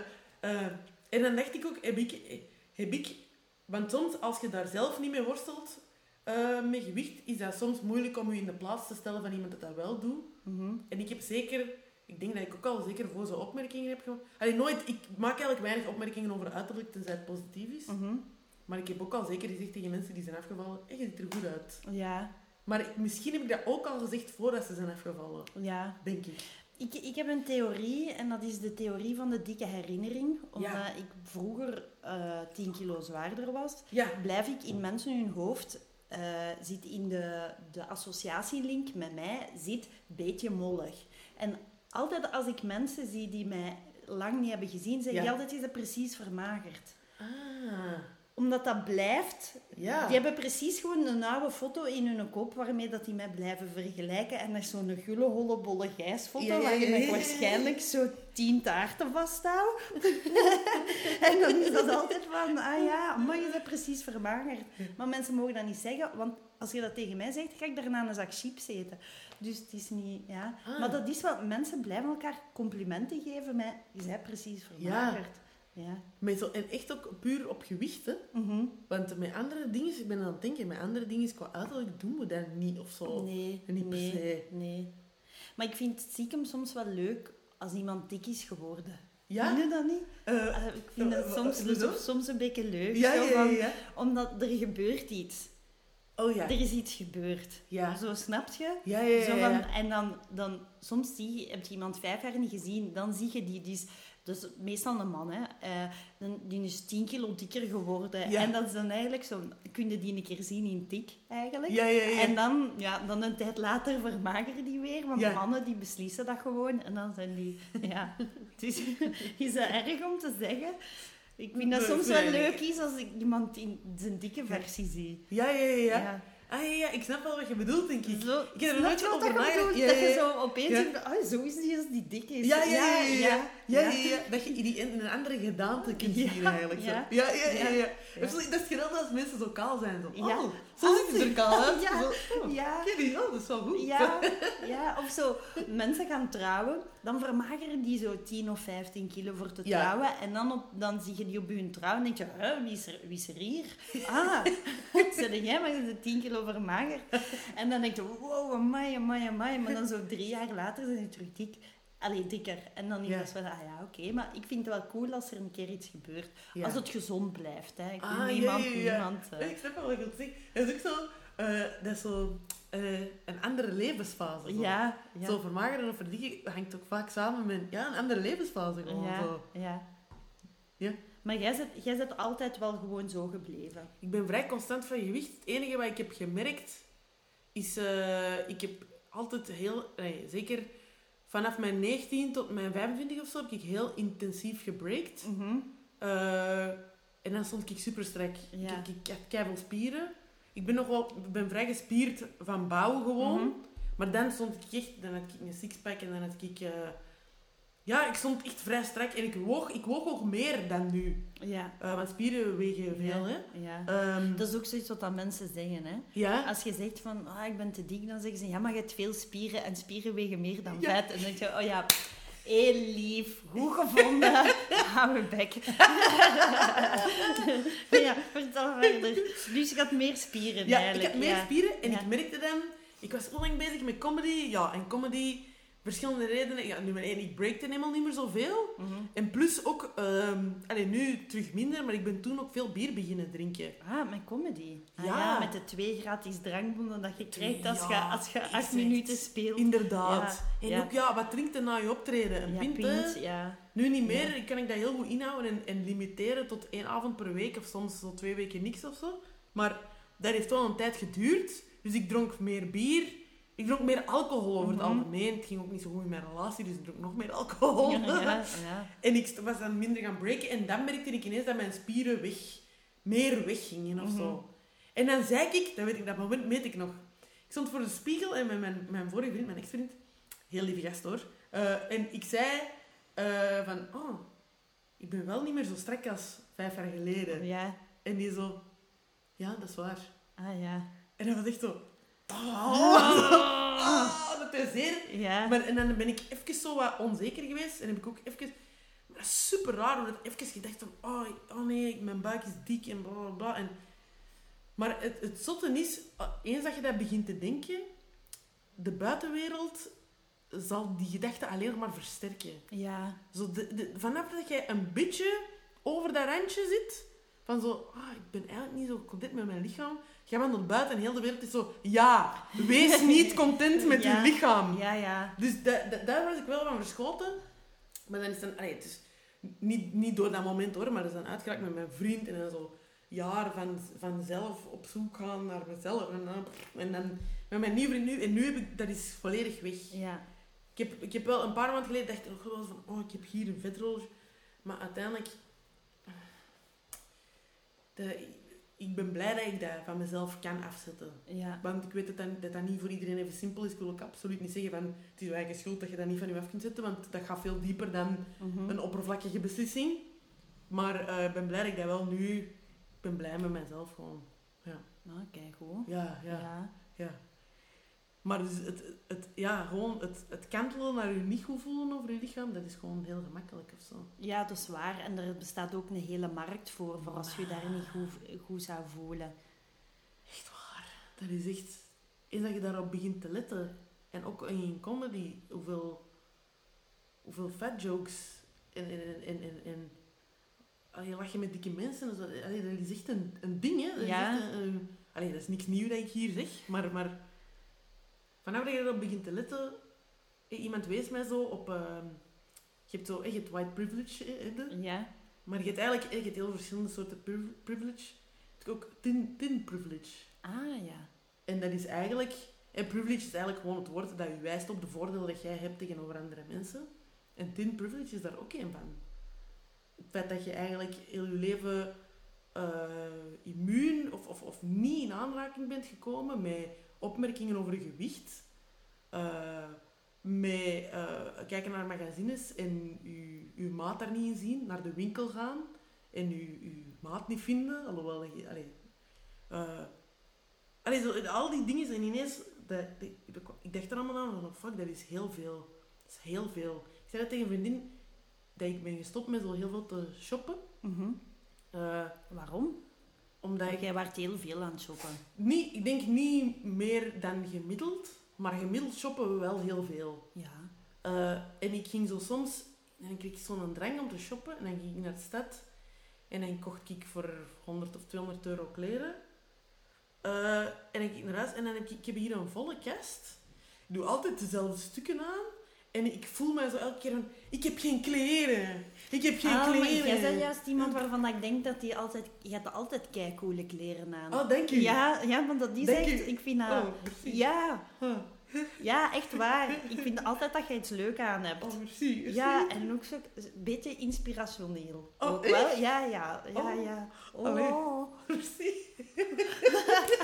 [SPEAKER 2] eh, en dan dacht ik ook, heb ik, heb ik... Want soms, als je daar zelf niet mee worstelt, eh, met gewicht, is dat soms moeilijk om je in de plaats te stellen van iemand dat dat wel doet.
[SPEAKER 1] Mhm.
[SPEAKER 2] En ik heb zeker, ik ik denk dat ik ook al zeker voor zo'n opmerkingen heb gemaakt. Allee, nooit, ik maak eigenlijk weinig opmerkingen over uiterlijk, tenzij het positief is.
[SPEAKER 1] Mhm.
[SPEAKER 2] Maar ik heb ook al zeker gezegd tegen mensen die zijn afgevallen, hey, je ziet er goed uit.
[SPEAKER 1] Ja,
[SPEAKER 2] Maar ik- misschien heb ik dat ook al gezegd voordat ze zijn afgevallen,
[SPEAKER 1] ja.
[SPEAKER 2] denk ik.
[SPEAKER 1] Ik, ik heb een theorie en dat is de theorie van de dikke herinnering. Omdat
[SPEAKER 2] Ja.
[SPEAKER 1] ik vroeger eh 10 kilo zwaarder was,
[SPEAKER 2] Ja,
[SPEAKER 1] blijf ik in mensen hun hoofd, eh, zit in de, de associatielink met mij, zit beetje mollig. En altijd als ik mensen zie die mij lang niet hebben gezien, zeg
[SPEAKER 2] Ja.
[SPEAKER 1] je altijd, is dat precies vermagerd.
[SPEAKER 2] Ah,
[SPEAKER 1] Omdat dat blijft
[SPEAKER 2] ja.
[SPEAKER 1] Die hebben precies gewoon een oude foto in hun kop waarmee dat die mij blijven vergelijken. En dat is zo'n gulle, holle, bolle gijsfoto
[SPEAKER 2] Ja, ja, ja,
[SPEAKER 1] waarin
[SPEAKER 2] ja,
[SPEAKER 1] ik
[SPEAKER 2] ja, ja.
[SPEAKER 1] waarschijnlijk zo tien taarten vasthoud. en dan is dat altijd van, ah ja, maar je bent precies vermagerd. Maar mensen mogen dat niet zeggen, want als je dat tegen mij zegt, ga ik daarna een zak chips eten. Dus het is niet, ja.
[SPEAKER 2] Ah.
[SPEAKER 1] Maar dat is wel, mensen blijven elkaar complimenten geven met, je bent precies vermagerd. Ja. ja.
[SPEAKER 2] Met zo, en echt ook puur op gewicht, hè.
[SPEAKER 1] Mhm.
[SPEAKER 2] Want met andere dingen, ik ben aan het denken, met andere dingen qua uiterlijk doen we dat niet of zo.
[SPEAKER 1] Nee,
[SPEAKER 2] Oh, En niet per
[SPEAKER 1] nee,
[SPEAKER 2] se.
[SPEAKER 1] nee. Maar ik vind het stiekem soms wel leuk als iemand dik is geworden.
[SPEAKER 2] Ja?
[SPEAKER 1] Vind je dat niet?
[SPEAKER 2] Eh,
[SPEAKER 1] Eh, Ik vind
[SPEAKER 2] eh,
[SPEAKER 1] dat
[SPEAKER 2] wat-
[SPEAKER 1] soms,
[SPEAKER 2] wat bedoel je?
[SPEAKER 1] soms een beetje leuk.
[SPEAKER 2] ja,
[SPEAKER 1] zo
[SPEAKER 2] ja, ja,
[SPEAKER 1] van-
[SPEAKER 2] ja.
[SPEAKER 1] Omdat er gebeurt iets.
[SPEAKER 2] Oh ja.
[SPEAKER 1] Er is iets gebeurd.
[SPEAKER 2] Ja.
[SPEAKER 1] Zo snap je?
[SPEAKER 2] Ja, ja, ja.
[SPEAKER 1] Zo
[SPEAKER 2] ja,
[SPEAKER 1] van,
[SPEAKER 2] ja.
[SPEAKER 1] en dan, dan soms zie je, heb je iemand vijf jaar niet gezien, dan zie je die, die is, dus meestal een man, hè, eh, dan- die is tien kilo dikker geworden.
[SPEAKER 2] Ja.
[SPEAKER 1] En dat is dan eigenlijk zo, kun je die een keer zien in tik eigenlijk.
[SPEAKER 2] Ja, ja, ja.
[SPEAKER 1] En dan, ja, dan een tijd later vermageren die weer, want
[SPEAKER 2] Ja.
[SPEAKER 1] mannen die beslissen dat gewoon. En dan zijn die, ja, dus is dat erg om te zeggen? Ik vind dat
[SPEAKER 2] Nee,
[SPEAKER 1] soms
[SPEAKER 2] vind
[SPEAKER 1] wel
[SPEAKER 2] ik
[SPEAKER 1] leuk is als ik iemand in zijn dikke versie zie.
[SPEAKER 2] Ja, ja, ja, ja. Ah ja, ja, ik snap wel wat je bedoelt, denk ik.
[SPEAKER 1] Zo,
[SPEAKER 2] Ik heb er
[SPEAKER 1] snap
[SPEAKER 2] nooit
[SPEAKER 1] je wat
[SPEAKER 2] over
[SPEAKER 1] dat je
[SPEAKER 2] nagedacht?
[SPEAKER 1] bedoelt?
[SPEAKER 2] Ja,
[SPEAKER 1] dat
[SPEAKER 2] ja,
[SPEAKER 1] je
[SPEAKER 2] ja.
[SPEAKER 1] zo opeens
[SPEAKER 2] Ja.
[SPEAKER 1] denkt, oh, zo is die als die dik is.
[SPEAKER 2] Ja, ja, ja, ja, ja. Ja, ja,
[SPEAKER 1] ja.
[SPEAKER 2] ja. Dat je die in een andere gedaante kunt
[SPEAKER 1] Ja,
[SPEAKER 2] zien eigenlijk. Zo.
[SPEAKER 1] ja.
[SPEAKER 2] Ja, ja, ja. ja,
[SPEAKER 1] Ja.
[SPEAKER 2] Dat is- Dat is geweldig als mensen zo kaal zijn. Zo.
[SPEAKER 1] Ja.
[SPEAKER 2] Oh, zo ziet het er kaal uit.
[SPEAKER 1] Ja.
[SPEAKER 2] Zo, oh,
[SPEAKER 1] Ja,
[SPEAKER 2] Ken je, oh, dat is wel goed.
[SPEAKER 1] ja, ja, of zo. Mensen gaan trouwen, dan vermageren die zo 10 of 15 kilo voor te
[SPEAKER 2] Ja.
[SPEAKER 1] trouwen. En dan, op, dan zie je die op hun trouw en denk je, hè, wie, is er, wie is er hier? Ah, zei jij, maar je bent 10 kilo vermagerd. En dan denk je, wow, amai, amai, amai. Maar dan zo drie jaar later zijn ze terug dik. Allee, dikker. En dan is
[SPEAKER 2] Ja.
[SPEAKER 1] dat wel, ah ja, oké. Maar ik vind het wel cool als er een keer iets gebeurt.
[SPEAKER 2] Ja.
[SPEAKER 1] Als het gezond blijft, hè. Ik wil
[SPEAKER 2] Ah, ja,
[SPEAKER 1] niemand,
[SPEAKER 2] ja, ja.
[SPEAKER 1] niemand... eh,
[SPEAKER 2] Ja, Ik snap wel wat je wilt zeggen. Dat is ook zo, eh, dat is zo eh, een andere levensfase. Zo.
[SPEAKER 1] ja, ja.
[SPEAKER 2] Zo vermageren of verdikken hangt ook vaak samen met ja, een andere levensfase. Gewoon,
[SPEAKER 1] Ja,
[SPEAKER 2] zo.
[SPEAKER 1] ja.
[SPEAKER 2] Ja.
[SPEAKER 1] Maar jij zit, jij zit altijd wel gewoon zo gebleven.
[SPEAKER 2] Ik ben vrij constant van gewicht. Het enige wat ik heb gemerkt is, eh, ik heb altijd heel, nee, zeker vanaf mijn 19 tot mijn 25 of zo, heb ik heel intensief gebreakt. Eh, en dan stond ik super strak.
[SPEAKER 1] Ja.
[SPEAKER 2] Ik, ik, ik had keiveel spieren. Ik ben nog wel, ik ben vrij gespierd van bouw gewoon.
[SPEAKER 1] Mhm.
[SPEAKER 2] Maar dan stond ik echt, dan had ik een sixpack en dan had ik... eh, ja, ik stond echt vrij strak en ik woog, ik woog ook meer dan nu.
[SPEAKER 1] Ja.
[SPEAKER 2] Eh, want spieren wegen veel, hè.
[SPEAKER 1] Ja. Dus
[SPEAKER 2] Ehm,
[SPEAKER 1] Dat is ook zoiets wat dat mensen zeggen. Hè?
[SPEAKER 2] ja.
[SPEAKER 1] Als je zegt van ah, ik ben te dik, dan zeggen ze ja, maar je hebt veel spieren en spieren wegen meer dan
[SPEAKER 2] Ja.
[SPEAKER 1] vet. En dan denk je, oh ja, heel lief, goed gevonden, hou mijn bek. ja, vertel verder. Dus je had meer spieren
[SPEAKER 2] Ja, ik
[SPEAKER 1] eigenlijk.
[SPEAKER 2] had meer
[SPEAKER 1] ja.
[SPEAKER 2] spieren en
[SPEAKER 1] Ja.
[SPEAKER 2] ik merkte dan... Ik was zo lang bezig met comedy. Ja, en comedy... Verschillende redenen. Ja, nummer één, ik breakte helemaal niet meer zoveel.
[SPEAKER 1] Mhm.
[SPEAKER 2] En plus ook... ehm allee, nu terug minder, maar ik ben toen ook veel bier beginnen drinken.
[SPEAKER 1] Ah, met comedy. Ah,
[SPEAKER 2] Ja.
[SPEAKER 1] ja. met de twee gratis drankbonden dat je krijgt als je,
[SPEAKER 2] Ja,
[SPEAKER 1] als je acht
[SPEAKER 2] exact.
[SPEAKER 1] minuten speelt.
[SPEAKER 2] Inderdaad.
[SPEAKER 1] Ja,
[SPEAKER 2] en
[SPEAKER 1] ja.
[SPEAKER 2] ook, ja, wat drinkt er na je optreden? Een
[SPEAKER 1] ja,
[SPEAKER 2] pint, hè?
[SPEAKER 1] pint, ja.
[SPEAKER 2] Nu niet meer. Kan ik dat heel goed inhouden en, en limiteren tot één avond per week of soms zo twee weken niks of zo. Maar dat heeft wel een tijd geduurd. Dus ik dronk meer bier. Ik dronk meer alcohol over het
[SPEAKER 1] Mhm.
[SPEAKER 2] algemeen. Het ging ook niet zo goed in mijn relatie, dus ik dronk nog meer alcohol.
[SPEAKER 1] Ja, ja, ja.
[SPEAKER 2] En ik was dan minder gaan breken. En dan merkte ik ineens dat mijn spieren weg, meer weggingen of
[SPEAKER 1] Mhm.
[SPEAKER 2] zo. En dan zei ik, dat weet ik, dat moment meet ik nog. Ik stond voor de spiegel en met mijn, mijn vorige vriend, mijn ex-vriend, heel lieve gast hoor. eh, en ik zei eh, van, oh, ik ben wel niet meer zo strak als vijf jaar geleden.
[SPEAKER 1] Ja.
[SPEAKER 2] En die zo, ja, dat is waar.
[SPEAKER 1] Ah, ja.
[SPEAKER 2] En dat was echt zo, oh,
[SPEAKER 1] Oh.
[SPEAKER 2] oh, dat is zeer.
[SPEAKER 1] Ja.
[SPEAKER 2] Maar, en dan ben ik even zo wat onzeker geweest. En heb ik ook even... maar dat is super raar, omdat ik even gedacht heb... Oh, oh nee, mijn buik is dik en bla, bla, bla. En, maar het, het zotte is, eh, eens dat je dat begint te denken... De buitenwereld zal die gedachte alleen maar versterken.
[SPEAKER 1] Ja.
[SPEAKER 2] Zo de, de- vanaf dat jij een beetje over dat randje zit, van zo, ah, ik ben eigenlijk niet zo content met mijn lichaam. Jij wandelt buiten en heel de wereld is zo, ja, wees niet content met
[SPEAKER 1] Ja.
[SPEAKER 2] je lichaam.
[SPEAKER 1] Ja, ja.
[SPEAKER 2] Dus da- da- daar was ik wel van verschoten. Maar dan is dan, allee, het is niet, niet door dat moment hoor, maar dat is dan uitgeraakt met mijn vriend en dan zo jaar van, vanzelf op zoek gaan naar mezelf. En dan, en dan met mijn nieuwe vriend nu, en nu heb ik, dat is volledig weg.
[SPEAKER 1] Ja.
[SPEAKER 2] Ik heb, ik heb wel een paar maanden geleden dacht ik nog wel van, oh, ik heb hier een vetrolletje. Maar uiteindelijk... eh, De, ik ben blij dat ik dat van mezelf kan afzetten.
[SPEAKER 1] Ja.
[SPEAKER 2] Want ik weet dat dat, dat dat niet voor iedereen even simpel is. Ik wil ook absoluut niet zeggen van, het is je eigen schuld dat je dat niet van je af kunt zetten. Want dat gaat veel dieper dan
[SPEAKER 1] Mhm.
[SPEAKER 2] een oppervlakkige beslissing. Maar eh, ik ben blij dat ik dat wel nu... Ik ben blij met mezelf gewoon.
[SPEAKER 1] Nou, kijk goed.
[SPEAKER 2] Ja, ja.
[SPEAKER 1] Ja.
[SPEAKER 2] Ja. Maar dus het, het, ja, gewoon het, het kantelen naar je niet goed voelen over je lichaam, dat is gewoon heel gemakkelijk of zo.
[SPEAKER 1] Ja, dat is waar. En er bestaat ook een hele markt voor, voor als je je daar niet goed, goed zou voelen.
[SPEAKER 2] Echt waar. Dat is echt... Eens dat je daarop begint te letten, en ook in comedy, hoeveel, hoeveel fat jokes en... en, en, en, en, en ah, je lacht met dikke mensen en zo. Allee, dat is echt een, een ding, hè. Dat is
[SPEAKER 1] Ja.
[SPEAKER 2] echt een- een- allee, dat is niks nieuw dat ik hier zeg, maar... maar vanaf dat je erop begint te letten... eh, Iemand wees mij zo op... ehm, je hebt zo echt het white privilege, eh, eh, de-
[SPEAKER 1] Ja.
[SPEAKER 2] maar je hebt eigenlijk eh, je hebt heel verschillende soorten priv- privilege. Je hebt ook tin, tin privilege.
[SPEAKER 1] Ah, ja.
[SPEAKER 2] En dat is eigenlijk... En privilege is eigenlijk gewoon het woord dat je wijst op de voordelen dat jij hebt tegenover andere mensen. En tin privilege is daar ook één van. Het feit dat je eigenlijk heel je leven eh, immuun of, of, of niet in aanraking bent gekomen met opmerkingen over je gewicht. eh, met eh, kijken naar magazines en je, je maat daar niet in zien. Naar de winkel gaan en je, je maat niet vinden. Alhoewel, dat je- allee, eh, Allee, zo, en al die dingen zijn ineens... Dat, die- ik, ik dacht er allemaal aan van, oh, fuck, dat is heel veel. Dat is heel veel. Ik zei dat tegen een vriendin, dat ik ben gestopt met zo heel veel te shoppen.
[SPEAKER 1] Mhm.
[SPEAKER 2] Eh,
[SPEAKER 1] Waarom?
[SPEAKER 2] omdat
[SPEAKER 1] Want
[SPEAKER 2] ik
[SPEAKER 1] jij waart heel veel aan het shoppen.
[SPEAKER 2] niet... Ik denk niet meer dan gemiddeld, maar gemiddeld shoppen we wel heel veel.
[SPEAKER 1] Ja.
[SPEAKER 2] Eh, en ik ging zo soms, dan kreeg ik zo'n drang om te shoppen. En dan ging ik naar de stad. En dan kocht ik voor 100 of 200 euro kleren. Eh, en dan ging ik naar huis. En dan heb ik, ik heb hier een volle kast. Ik doe altijd dezelfde stukken aan. En ik voel mij zo elke keer van, ik heb geen kleren. Ik heb geen
[SPEAKER 1] ah, maar
[SPEAKER 2] kleren.
[SPEAKER 1] jij bent juist iemand waarvan dat ik denk dat die altijd... Je hebt altijd keicoole kleren aan.
[SPEAKER 2] Oh, dank u.
[SPEAKER 1] ja, ja, want dat die
[SPEAKER 2] Dank
[SPEAKER 1] zegt...
[SPEAKER 2] u.
[SPEAKER 1] Ik vind dat...
[SPEAKER 2] Oh, merci.
[SPEAKER 1] Ja,
[SPEAKER 2] Huh.
[SPEAKER 1] ja, echt waar. Ik vind altijd dat je iets leuk aan hebt.
[SPEAKER 2] Oh, merci. merci.
[SPEAKER 1] Ja, en ook zo een beetje inspirationeel.
[SPEAKER 2] Oh,
[SPEAKER 1] ook
[SPEAKER 2] echt?
[SPEAKER 1] wel? Ja, ja, ja,
[SPEAKER 2] Oh.
[SPEAKER 1] ja. Oh.
[SPEAKER 2] Allee. Merci. maar,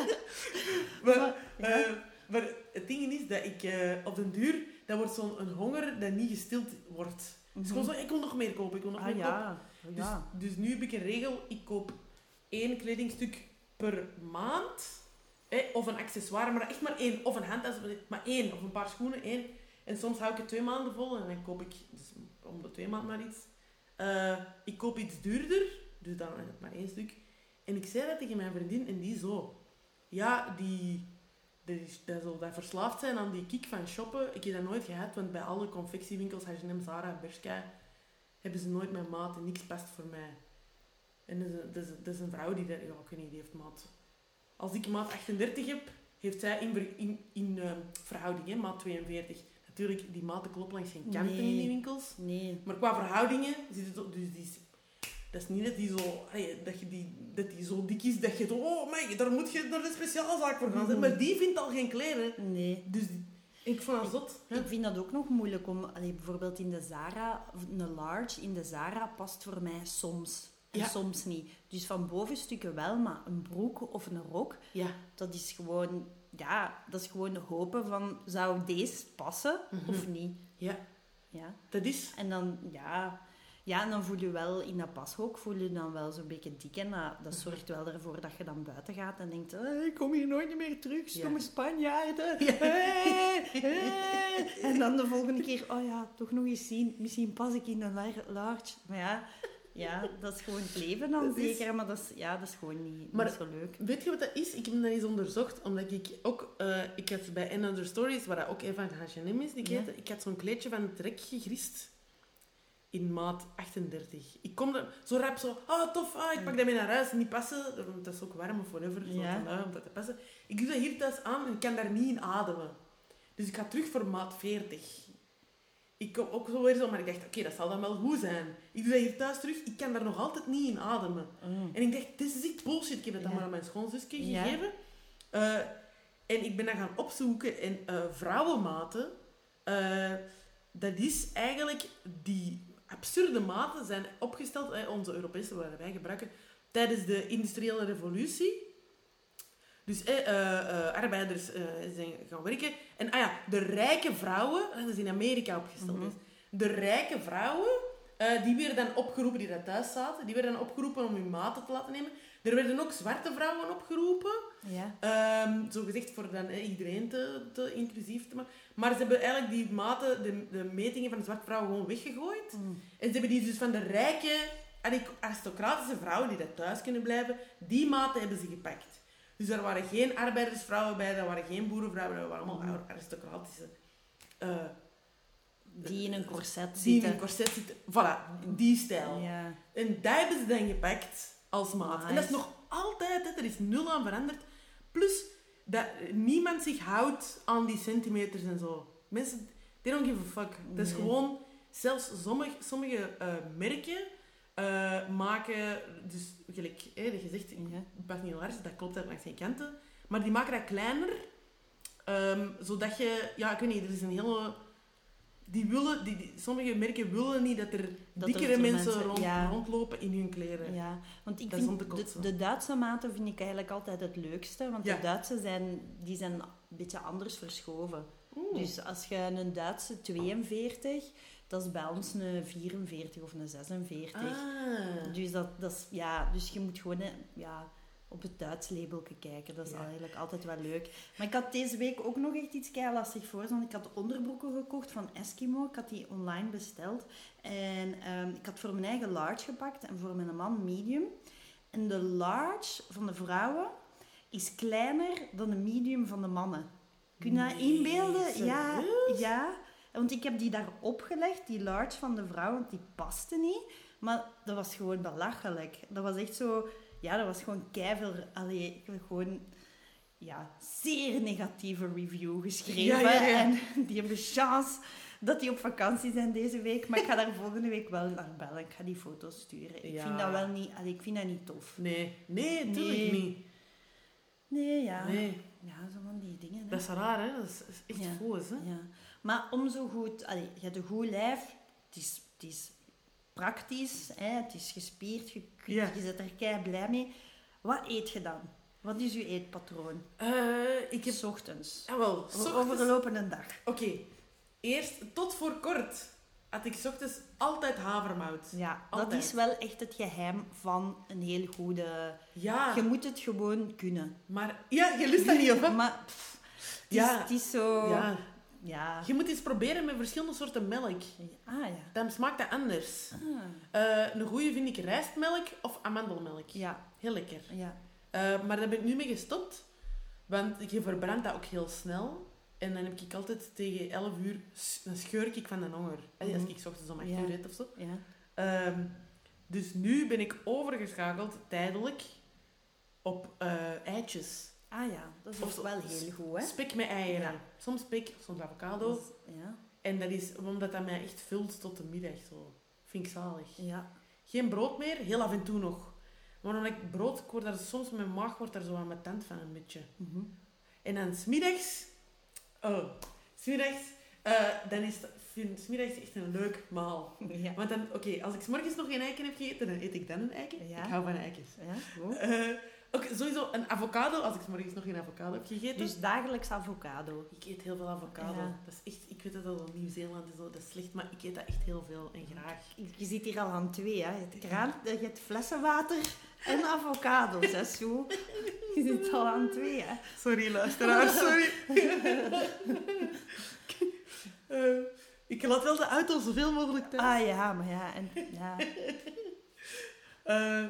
[SPEAKER 1] ja.
[SPEAKER 2] eh, maar het ding is dat ik eh, op den duur, dat wordt zo'n een honger dat niet gestild wordt. Het is
[SPEAKER 1] Mhm.
[SPEAKER 2] gewoon zo, ik wil nog meer kopen, ik wil nog
[SPEAKER 1] Ah
[SPEAKER 2] meer kopen.
[SPEAKER 1] ja,
[SPEAKER 2] Dus,
[SPEAKER 1] ja.
[SPEAKER 2] dus nu heb ik een regel, ik koop één kledingstuk per maand. Hè, of een accessoire, maar echt maar één. Of een handtas, of- maar één. Of een paar schoenen, één. En soms hou ik het twee maanden vol en dan koop ik, dus om de twee maanden maar iets. Eh, ik koop iets duurder, dus dan is het maar één stuk. En ik zei dat tegen mijn vriendin en die zo. Ja, die, die, dat zal dat verslaafd zijn aan die kick van shoppen. Ik heb dat nooit gehad, want bij alle confectiewinkels, H&M, Zara, Bershka, hebben ze nooit mijn maat en niks past voor mij. En dat is, een- dat is, dat is een vrouw die daar, ja, ik weet niet, die heeft maat. Als ik maat 38 heb, heeft zij in, ver- in, in ehm, verhouding, hè, maat 42. Natuurlijk, die maten kloppen langs geen kanten in
[SPEAKER 1] Nee.
[SPEAKER 2] die winkels.
[SPEAKER 1] Nee.
[SPEAKER 2] Maar qua verhoudingen zit het ook... Dus die is, dat is niet dat die, zo, allee, dat, je die, dat die zo dik is dat je... zo, Oh my, daar moet je naar de speciaalzaak voor gaan.
[SPEAKER 1] Mhm.
[SPEAKER 2] Maar die vindt al geen kleren.
[SPEAKER 1] Nee.
[SPEAKER 2] Dus die- ik vond dat zot. hè.
[SPEAKER 1] Ik vind dat ook nog moeilijk om... allee, bijvoorbeeld in de Zara, of een large in de Zara past voor mij soms. En
[SPEAKER 2] Ja.
[SPEAKER 1] soms niet. Dus van bovenstukken wel, maar een broek of een rok,
[SPEAKER 2] Ja.
[SPEAKER 1] dat is gewoon... Ja, dat is gewoon hopen van, zou deze passen of niet?
[SPEAKER 2] Ja.
[SPEAKER 1] Ja.
[SPEAKER 2] Dat is...
[SPEAKER 1] En dan, ja... Ja, en dan voel je wel in dat pashok, voel je dan wel zo'n beetje dik. En dat,
[SPEAKER 2] Mhm.
[SPEAKER 1] dat zorgt wel ervoor dat je dan buiten gaat en denkt... "Eh, ik kom hier nooit meer terug, stomme Spanjaarden. Eh, Hey, hey." En dan de volgende keer... Oh ja, toch nog eens zien. Misschien pas ik in een lar- large. Maar ja, Ja, dat is gewoon het leven dan
[SPEAKER 2] Dat is-
[SPEAKER 1] zeker. Maar dat is, ja, dat is gewoon niet, niet
[SPEAKER 2] Maar-
[SPEAKER 1] zo leuk.
[SPEAKER 2] Weet je wat dat is? Ik heb dat eens onderzocht, omdat ik ook... eh, ik had bij Another Stories, waar dat ook Eva van H&M is, die ik
[SPEAKER 1] Ja.
[SPEAKER 2] heette, ik had zo'n kleedje van Trek gegrist. In maat 38. Ik kom er zo rap zo... Oh, tof. Ah, ik pak dat mee naar huis. Niet passen. Want dat is ook warm of whatever. Zo
[SPEAKER 1] Ja.
[SPEAKER 2] te lui om dat te passen. Ik doe dat hier thuis aan en ik kan daar niet in ademen. Dus ik ga terug voor maat 40. Ik kom ook zo weer zo, maar ik dacht, oké, dat zal dan wel goed zijn. Ik doe dat hier thuis terug, ik kan daar nog altijd niet in ademen. En ik dacht, dit is echt bullshit. Ik heb dat dan
[SPEAKER 1] Ja.
[SPEAKER 2] maar aan mijn schoonzusje
[SPEAKER 1] Ja.
[SPEAKER 2] gegeven. Eh, en ik ben dat gaan opzoeken. En eh, vrouwenmaten, eh, dat is eigenlijk die absurde maten zijn opgesteld, eh, onze Europese, waar wij gebruiken, tijdens de industriële revolutie. Dus eh, eh, eh, arbeiders eh, zijn gaan werken. En ah ja, de rijke vrouwen, dat is in Amerika opgesteld.
[SPEAKER 1] Mhm.
[SPEAKER 2] dus. De rijke vrouwen, eh, die werden dan opgeroepen, die daar thuis zaten, die werden dan opgeroepen om hun maten te laten nemen. Er werden ook zwarte vrouwen opgeroepen.
[SPEAKER 1] Ja.
[SPEAKER 2] Ehm, zo gezegd voor dan eh, iedereen te, te inclusief te maken. Maar ze hebben eigenlijk die maten, de, de metingen van de zwarte vrouwen gewoon weggegooid. En ze hebben die dus van de rijke aric- aristocratische vrouwen die daar thuis kunnen blijven, die maten hebben ze gepakt. Dus er waren geen arbeidersvrouwen bij, er waren geen boerenvrouwen, er waren allemaal
[SPEAKER 1] Mhm.
[SPEAKER 2] aristocratische eh
[SPEAKER 1] Die in een corset
[SPEAKER 2] die in
[SPEAKER 1] zitten.
[SPEAKER 2] een corset zitten. Voilà, die stijl.
[SPEAKER 1] Ja.
[SPEAKER 2] En dat hebben ze dan gepakt als maat. En dat is
[SPEAKER 1] Nice.
[SPEAKER 2] nog altijd, hè, er is nul aan veranderd. Plus dat niemand zich houdt aan die centimeters en zo. Mensen, they don't give a fuck. Dat is
[SPEAKER 1] Nee.
[SPEAKER 2] gewoon, zelfs sommige, sommige eh, merken eh, maken, dus gelijk, hè, dat je zegt,
[SPEAKER 1] Ja.
[SPEAKER 2] Bas Nielaars, dat klopt daar langs zijn kanten. Maar die maken dat kleiner, ehm, zodat je, ja, ik weet niet, er is een hele. Die willen, die, die- sommige merken willen niet dat er
[SPEAKER 1] er
[SPEAKER 2] dikkere
[SPEAKER 1] zo
[SPEAKER 2] mensen,
[SPEAKER 1] mensen-
[SPEAKER 2] rond,
[SPEAKER 1] ja.
[SPEAKER 2] rondlopen in hun kleren.
[SPEAKER 1] Ja, want ik
[SPEAKER 2] Dat is om
[SPEAKER 1] vind
[SPEAKER 2] te
[SPEAKER 1] de,
[SPEAKER 2] kotsen.
[SPEAKER 1] de Duitse maten vind ik eigenlijk altijd het leukste. Want
[SPEAKER 2] Ja.
[SPEAKER 1] de Duitsen zijn, die zijn een beetje anders verschoven.
[SPEAKER 2] Oeh.
[SPEAKER 1] Dus als je een Duitse 42, dat is bij ons een 44 of een 46.
[SPEAKER 2] Ah.
[SPEAKER 1] Dus, dat, dat is, ja, dus je moet gewoon eh, ja, op het Duits labelke kijken. Dat is
[SPEAKER 2] Ja.
[SPEAKER 1] eigenlijk altijd wel leuk. Maar ik had deze week ook nog echt iets kei lastig voor. Want ik had onderbroeken gekocht van Eskimo. Ik had die online besteld. En ehm, ik had voor mijn eigen large gepakt en voor mijn man medium. En de large van de vrouwen is kleiner dan de medium van de mannen. Kun je dat
[SPEAKER 2] Nee,
[SPEAKER 1] inbeelden? Ja,
[SPEAKER 2] serieus?
[SPEAKER 1] ja. Want ik heb die daar opgelegd, die large van de vrouw, want die paste niet. Maar dat was gewoon belachelijk. Dat was echt zo... Ja, dat was gewoon keiveel... Allee, gewoon... Ja, zeer negatieve review geschreven.
[SPEAKER 2] Ja, ja, ja.
[SPEAKER 1] En die hebben chance dat die op vakantie zijn deze week. Maar ik ga daar volgende week wel naar bellen. Ik ga die foto's sturen. Ik
[SPEAKER 2] Ja.
[SPEAKER 1] vind dat wel niet... Allee, ik vind dat niet tof.
[SPEAKER 2] Nee, nee, natuurlijk
[SPEAKER 1] Nee.
[SPEAKER 2] niet.
[SPEAKER 1] Nee, ja.
[SPEAKER 2] Nee.
[SPEAKER 1] Ja, zo van die dingen. hè.
[SPEAKER 2] Dat is raar, hè? Dat is, is echt
[SPEAKER 1] Ja.
[SPEAKER 2] foos, hè?
[SPEAKER 1] Ja. Maar om zo goed... Allee, je hebt een goed lijf. Het is, het is praktisch. Hè? Het is gespierd. Je, kunt-
[SPEAKER 2] Ja.
[SPEAKER 1] je zit er kei blij mee. Wat eet je dan? Wat is je eetpatroon?
[SPEAKER 2] Eh, ik heb.
[SPEAKER 1] S ochtends.
[SPEAKER 2] Ah, wel,
[SPEAKER 1] O-
[SPEAKER 2] ochtends-
[SPEAKER 1] Over de lopende dag.
[SPEAKER 2] Oké, eerst tot voor kort had ik 's ochtends altijd havermout.
[SPEAKER 1] Ja, dat
[SPEAKER 2] Altijd.
[SPEAKER 1] is wel echt het geheim van een heel goede...
[SPEAKER 2] Ja,
[SPEAKER 1] Je moet het gewoon kunnen.
[SPEAKER 2] maar. Ja, Ah. je lust dat niet op, hè?
[SPEAKER 1] Maar pff, het, is,
[SPEAKER 2] Ja.
[SPEAKER 1] het is zo...
[SPEAKER 2] Ja.
[SPEAKER 1] Ja.
[SPEAKER 2] Je moet eens proberen met verschillende soorten melk.
[SPEAKER 1] Ah, ja.
[SPEAKER 2] Dan smaakt dat anders.
[SPEAKER 1] Ah.
[SPEAKER 2] Eh, een goede vind ik rijstmelk of amandelmelk.
[SPEAKER 1] Ja,
[SPEAKER 2] Heel lekker.
[SPEAKER 1] ja.
[SPEAKER 2] Eh, maar daar ben ik nu mee gestopt. Want je verbrandt dat ook heel snel. En dan heb ik altijd tegen 11 uur... s- Dan scheur ik van de honger. Allee, Als
[SPEAKER 1] Mhm.
[SPEAKER 2] ik 's ochtends om 8
[SPEAKER 1] Ja.
[SPEAKER 2] uur eet of zo.
[SPEAKER 1] ja.
[SPEAKER 2] Ehm, dus nu ben ik overgeschakeld, tijdelijk, op eh, eitjes.
[SPEAKER 1] Ah ja, dat is
[SPEAKER 2] Of
[SPEAKER 1] ook
[SPEAKER 2] zo-
[SPEAKER 1] wel heel goed, hè?
[SPEAKER 2] Spek met eieren.
[SPEAKER 1] Ja.
[SPEAKER 2] Soms spek, soms avocado.
[SPEAKER 1] Dat is- Ja.
[SPEAKER 2] En dat is omdat dat mij echt vult tot de middag. Zo. Vind ik zalig.
[SPEAKER 1] Ja.
[SPEAKER 2] Geen brood meer, heel af en toe nog. Maar omdat ik brood, ik word daar soms, mijn maag wordt daar zo aan mijn tent van een beetje.
[SPEAKER 1] Mhm.
[SPEAKER 2] En dan smiddags, oh, smiddags, eh, dan is dat- vind smiddags echt een leuk maal.
[SPEAKER 1] Ja.
[SPEAKER 2] Want dan, oké, als ik 's morgens nog geen eiken heb gegeten, dan eet ik dan een eiken.
[SPEAKER 1] Ja.
[SPEAKER 2] Ik hou van eikens.
[SPEAKER 1] Ja, goed.
[SPEAKER 2] Eh, ook sowieso een avocado, als ik 's morgens nog geen avocado heb gegeten.
[SPEAKER 1] Dus dagelijks avocado.
[SPEAKER 2] ik eet heel veel avocado.
[SPEAKER 1] Ja.
[SPEAKER 2] Dat is echt, ik weet dat dat in Nieuw-Zeeland is, dat is slecht, maar ik eet dat echt heel veel en graag.
[SPEAKER 1] Je ziet hier al aan twee, hè. Je hebt, kraan, je hebt flessen water en avocado's, hè, Sue. Je zit al aan twee, hè.
[SPEAKER 2] Sorry, luisteraar, sorry. Eh, ik laat wel de auto zoveel mogelijk thuis.
[SPEAKER 1] Ah ja, maar ja, en, ja.
[SPEAKER 2] Eh,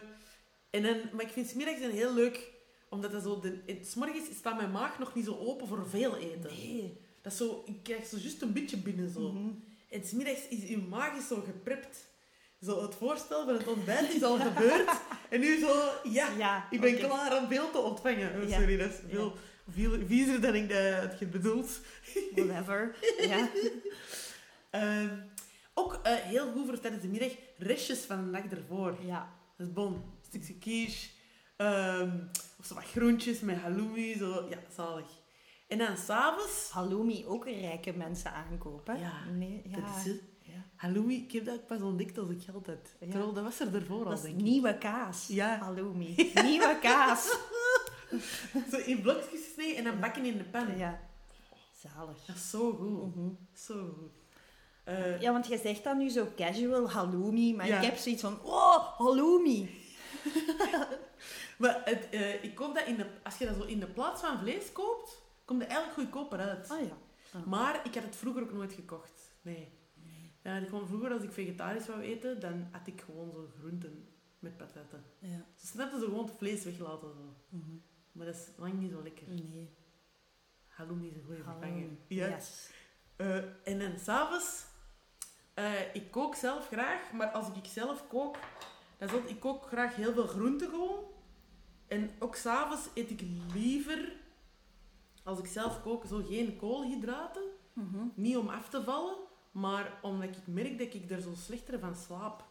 [SPEAKER 2] en dan, maar ik vind smiddags een heel leuk, omdat dat zo... De, in- 's morgens staat mijn maag nog niet zo open voor veel eten.
[SPEAKER 1] Nee.
[SPEAKER 2] Dat is zo, ik krijg zo juist een beetje binnen zo.
[SPEAKER 1] Mhm.
[SPEAKER 2] En smiddags is uw maag is zo geprept. Zo het voorstel van het ontbijt is al gebeurd. En nu zo, ja,
[SPEAKER 1] Ja,
[SPEAKER 2] ik ben
[SPEAKER 1] oké.
[SPEAKER 2] klaar om veel te ontvangen. Oh,
[SPEAKER 1] Ja.
[SPEAKER 2] Sorry, dat is veel, veel viezer dan ik dat had bedoeld.
[SPEAKER 1] Whatever. ja.
[SPEAKER 2] Ehm, ook eh, heel goed voor tijdens de middag, restjes van de nacht ervoor.
[SPEAKER 1] ja.
[SPEAKER 2] Dat is bon. Een stukje quiche. ehm, of zo wat groentjes met halloumi. Zo. Ja, zalig. En dan s'avonds...
[SPEAKER 1] Halloumi ook rijke mensen aankopen.
[SPEAKER 2] Ja,
[SPEAKER 1] Nee, ja.
[SPEAKER 2] Dat is het.
[SPEAKER 1] Ja.
[SPEAKER 2] Halloumi, ik heb dat pas ontdekt als ik geld had.
[SPEAKER 1] Ja.
[SPEAKER 2] Terwijl dat was er ervoor al,
[SPEAKER 1] Dat is
[SPEAKER 2] denk ik.
[SPEAKER 1] nieuwe kaas.
[SPEAKER 2] Ja.
[SPEAKER 1] Halloumi. Nieuwe kaas.
[SPEAKER 2] Zo in blokjes gesneden en dan bakken in de pan.
[SPEAKER 1] Ja. Zalig.
[SPEAKER 2] Dat is zo goed.
[SPEAKER 1] Mhm.
[SPEAKER 2] Zo goed. Eh,
[SPEAKER 1] Ja, want jij zegt dat nu zo casual, halloumi. Maar
[SPEAKER 2] Ja.
[SPEAKER 1] ik heb zoiets van, oh, halloumi.
[SPEAKER 2] Maar het, eh, ik koop dat in de, als je dat zo in de plaats van vlees koopt, komt het eigenlijk goedkoper uit.
[SPEAKER 1] Ah ja.
[SPEAKER 2] Maar ik had het vroeger ook nooit gekocht. Nee. Ja, en gewoon vroeger, als ik vegetarisch wou eten, dan at ik gewoon zo groenten met patatten.
[SPEAKER 1] ja.
[SPEAKER 2] Ze snapten ze gewoon het vlees weglaten. Zo.
[SPEAKER 1] Mhm.
[SPEAKER 2] Maar dat is lang niet zo lekker.
[SPEAKER 1] Nee,
[SPEAKER 2] Halloumi is een goede vervanger.
[SPEAKER 1] halloumi.
[SPEAKER 2] Ja.
[SPEAKER 1] Yes.
[SPEAKER 2] Eh, en dan s'avonds, eh ik kook zelf graag, maar als ik zelf kook, dan is dat, ik kook graag heel veel groenten gewoon. En ook s'avonds eet ik liever, als ik zelf kook, zo geen koolhydraten.
[SPEAKER 1] Mhm.
[SPEAKER 2] Niet om af te vallen, maar omdat ik merk dat ik er zo slechter van slaap.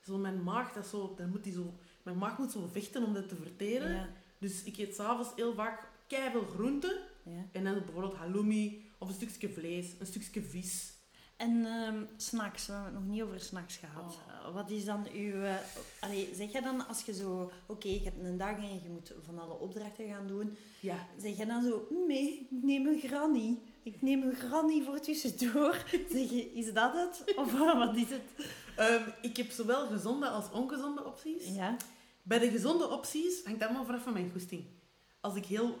[SPEAKER 2] Zo mijn maag, dat is zo, dan moet die zo, mijn maag moet zo vechten om dat te verteren.
[SPEAKER 1] Ja.
[SPEAKER 2] Dus ik eet s'avonds heel vaak keiveel groenten.
[SPEAKER 1] Ja.
[SPEAKER 2] En dan bijvoorbeeld halloumi, of een stukje vlees, een stukje vis.
[SPEAKER 1] En ehm, snacks, we hebben het nog niet over snacks gehad.
[SPEAKER 2] Oh.
[SPEAKER 1] Eh, Wat is dan uw... eh, allee, zeg jij dan als je zo... Oké, je hebt een dag en je moet van alle opdrachten gaan doen.
[SPEAKER 2] Ja.
[SPEAKER 1] Zeg jij dan zo... Nee, ik neem een granny. Ik neem een granny voor tussendoor. Zeg je, is dat het? Of wat is het?
[SPEAKER 2] Ehm, ik heb zowel gezonde als ongezonde opties.
[SPEAKER 1] Ja.
[SPEAKER 2] Bij de gezonde opties hangt dat maar vanaf van mijn goesting. Als ik heel...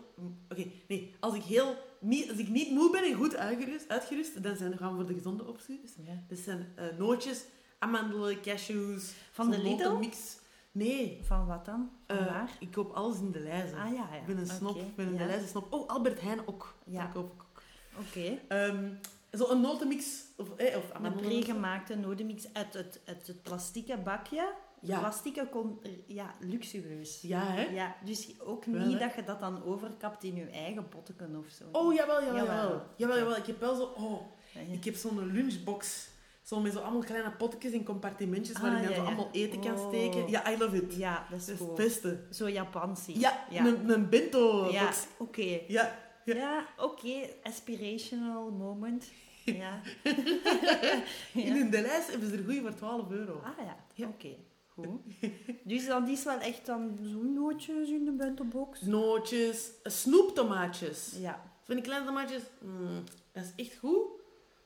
[SPEAKER 2] Oké, nee. Als ik, heel, niet, als ik niet moe ben en goed uitgerust, uitgerust dan zijn we gaan voor de gezonde opties. Dus zijn eh, nootjes, amandelen, cashews.
[SPEAKER 1] Van de
[SPEAKER 2] zo'n grote
[SPEAKER 1] Lidl?
[SPEAKER 2] mix. Nee.
[SPEAKER 1] Van wat dan? Van
[SPEAKER 2] eh,
[SPEAKER 1] waar?
[SPEAKER 2] ik koop alles in de lijzen.
[SPEAKER 1] Ah ja, ja.
[SPEAKER 2] Ik ben een snop.
[SPEAKER 1] Oké,
[SPEAKER 2] Ik ben een
[SPEAKER 1] ja.
[SPEAKER 2] de lijzen snop. Oh, Albert Heijn ook.
[SPEAKER 1] Ja.
[SPEAKER 2] Dat koop ik ook.
[SPEAKER 1] Oké.
[SPEAKER 2] Ehm, zo een notenmix. Of, eh, of
[SPEAKER 1] Een
[SPEAKER 2] amandelen.
[SPEAKER 1] pregemaakte nodenmix uit het, uit het plastieke bakje.
[SPEAKER 2] Ja.
[SPEAKER 1] Plastieke, kon, ja, luxueus.
[SPEAKER 2] Ja, hè?
[SPEAKER 1] Ja, dus ook
[SPEAKER 2] Wel,
[SPEAKER 1] niet
[SPEAKER 2] hè?
[SPEAKER 1] dat je dat dan overkapt in je eigen potteken of zo.
[SPEAKER 2] Oh, jawel, jawel,
[SPEAKER 1] Jawel.
[SPEAKER 2] jawel. Jawel, jawel. Ik heb wel zo... Oh,
[SPEAKER 1] Ja, ja.
[SPEAKER 2] ik heb zo'n lunchbox. Zo met zo allemaal kleine potjes en compartimentjes waar
[SPEAKER 1] Ah,
[SPEAKER 2] ik dan
[SPEAKER 1] ja,
[SPEAKER 2] zo
[SPEAKER 1] ja.
[SPEAKER 2] allemaal eten kan
[SPEAKER 1] Oh.
[SPEAKER 2] steken. Ja, I love it.
[SPEAKER 1] Ja, dat
[SPEAKER 2] Dat
[SPEAKER 1] is
[SPEAKER 2] is het
[SPEAKER 1] cool.
[SPEAKER 2] beste.
[SPEAKER 1] Zo Japansie.
[SPEAKER 2] Dus Ja,
[SPEAKER 1] ja.
[SPEAKER 2] Een, een bento
[SPEAKER 1] Ja,
[SPEAKER 2] box.
[SPEAKER 1] oké.
[SPEAKER 2] Ja.
[SPEAKER 1] Ja, oké. Aspirational moment. Ja.
[SPEAKER 2] In
[SPEAKER 1] ja.
[SPEAKER 2] hun de lijst hebben ze er goeie voor 12 euro.
[SPEAKER 1] Ah ja,
[SPEAKER 2] Ja.
[SPEAKER 1] oké. Goed. Dus dan die is wel echt dan zo'n nootjes in de bentobox.
[SPEAKER 2] Nootjes, snoeptomaatjes.
[SPEAKER 1] Ja.
[SPEAKER 2] Van die kleine tomaatjes, mm, dat is echt goed.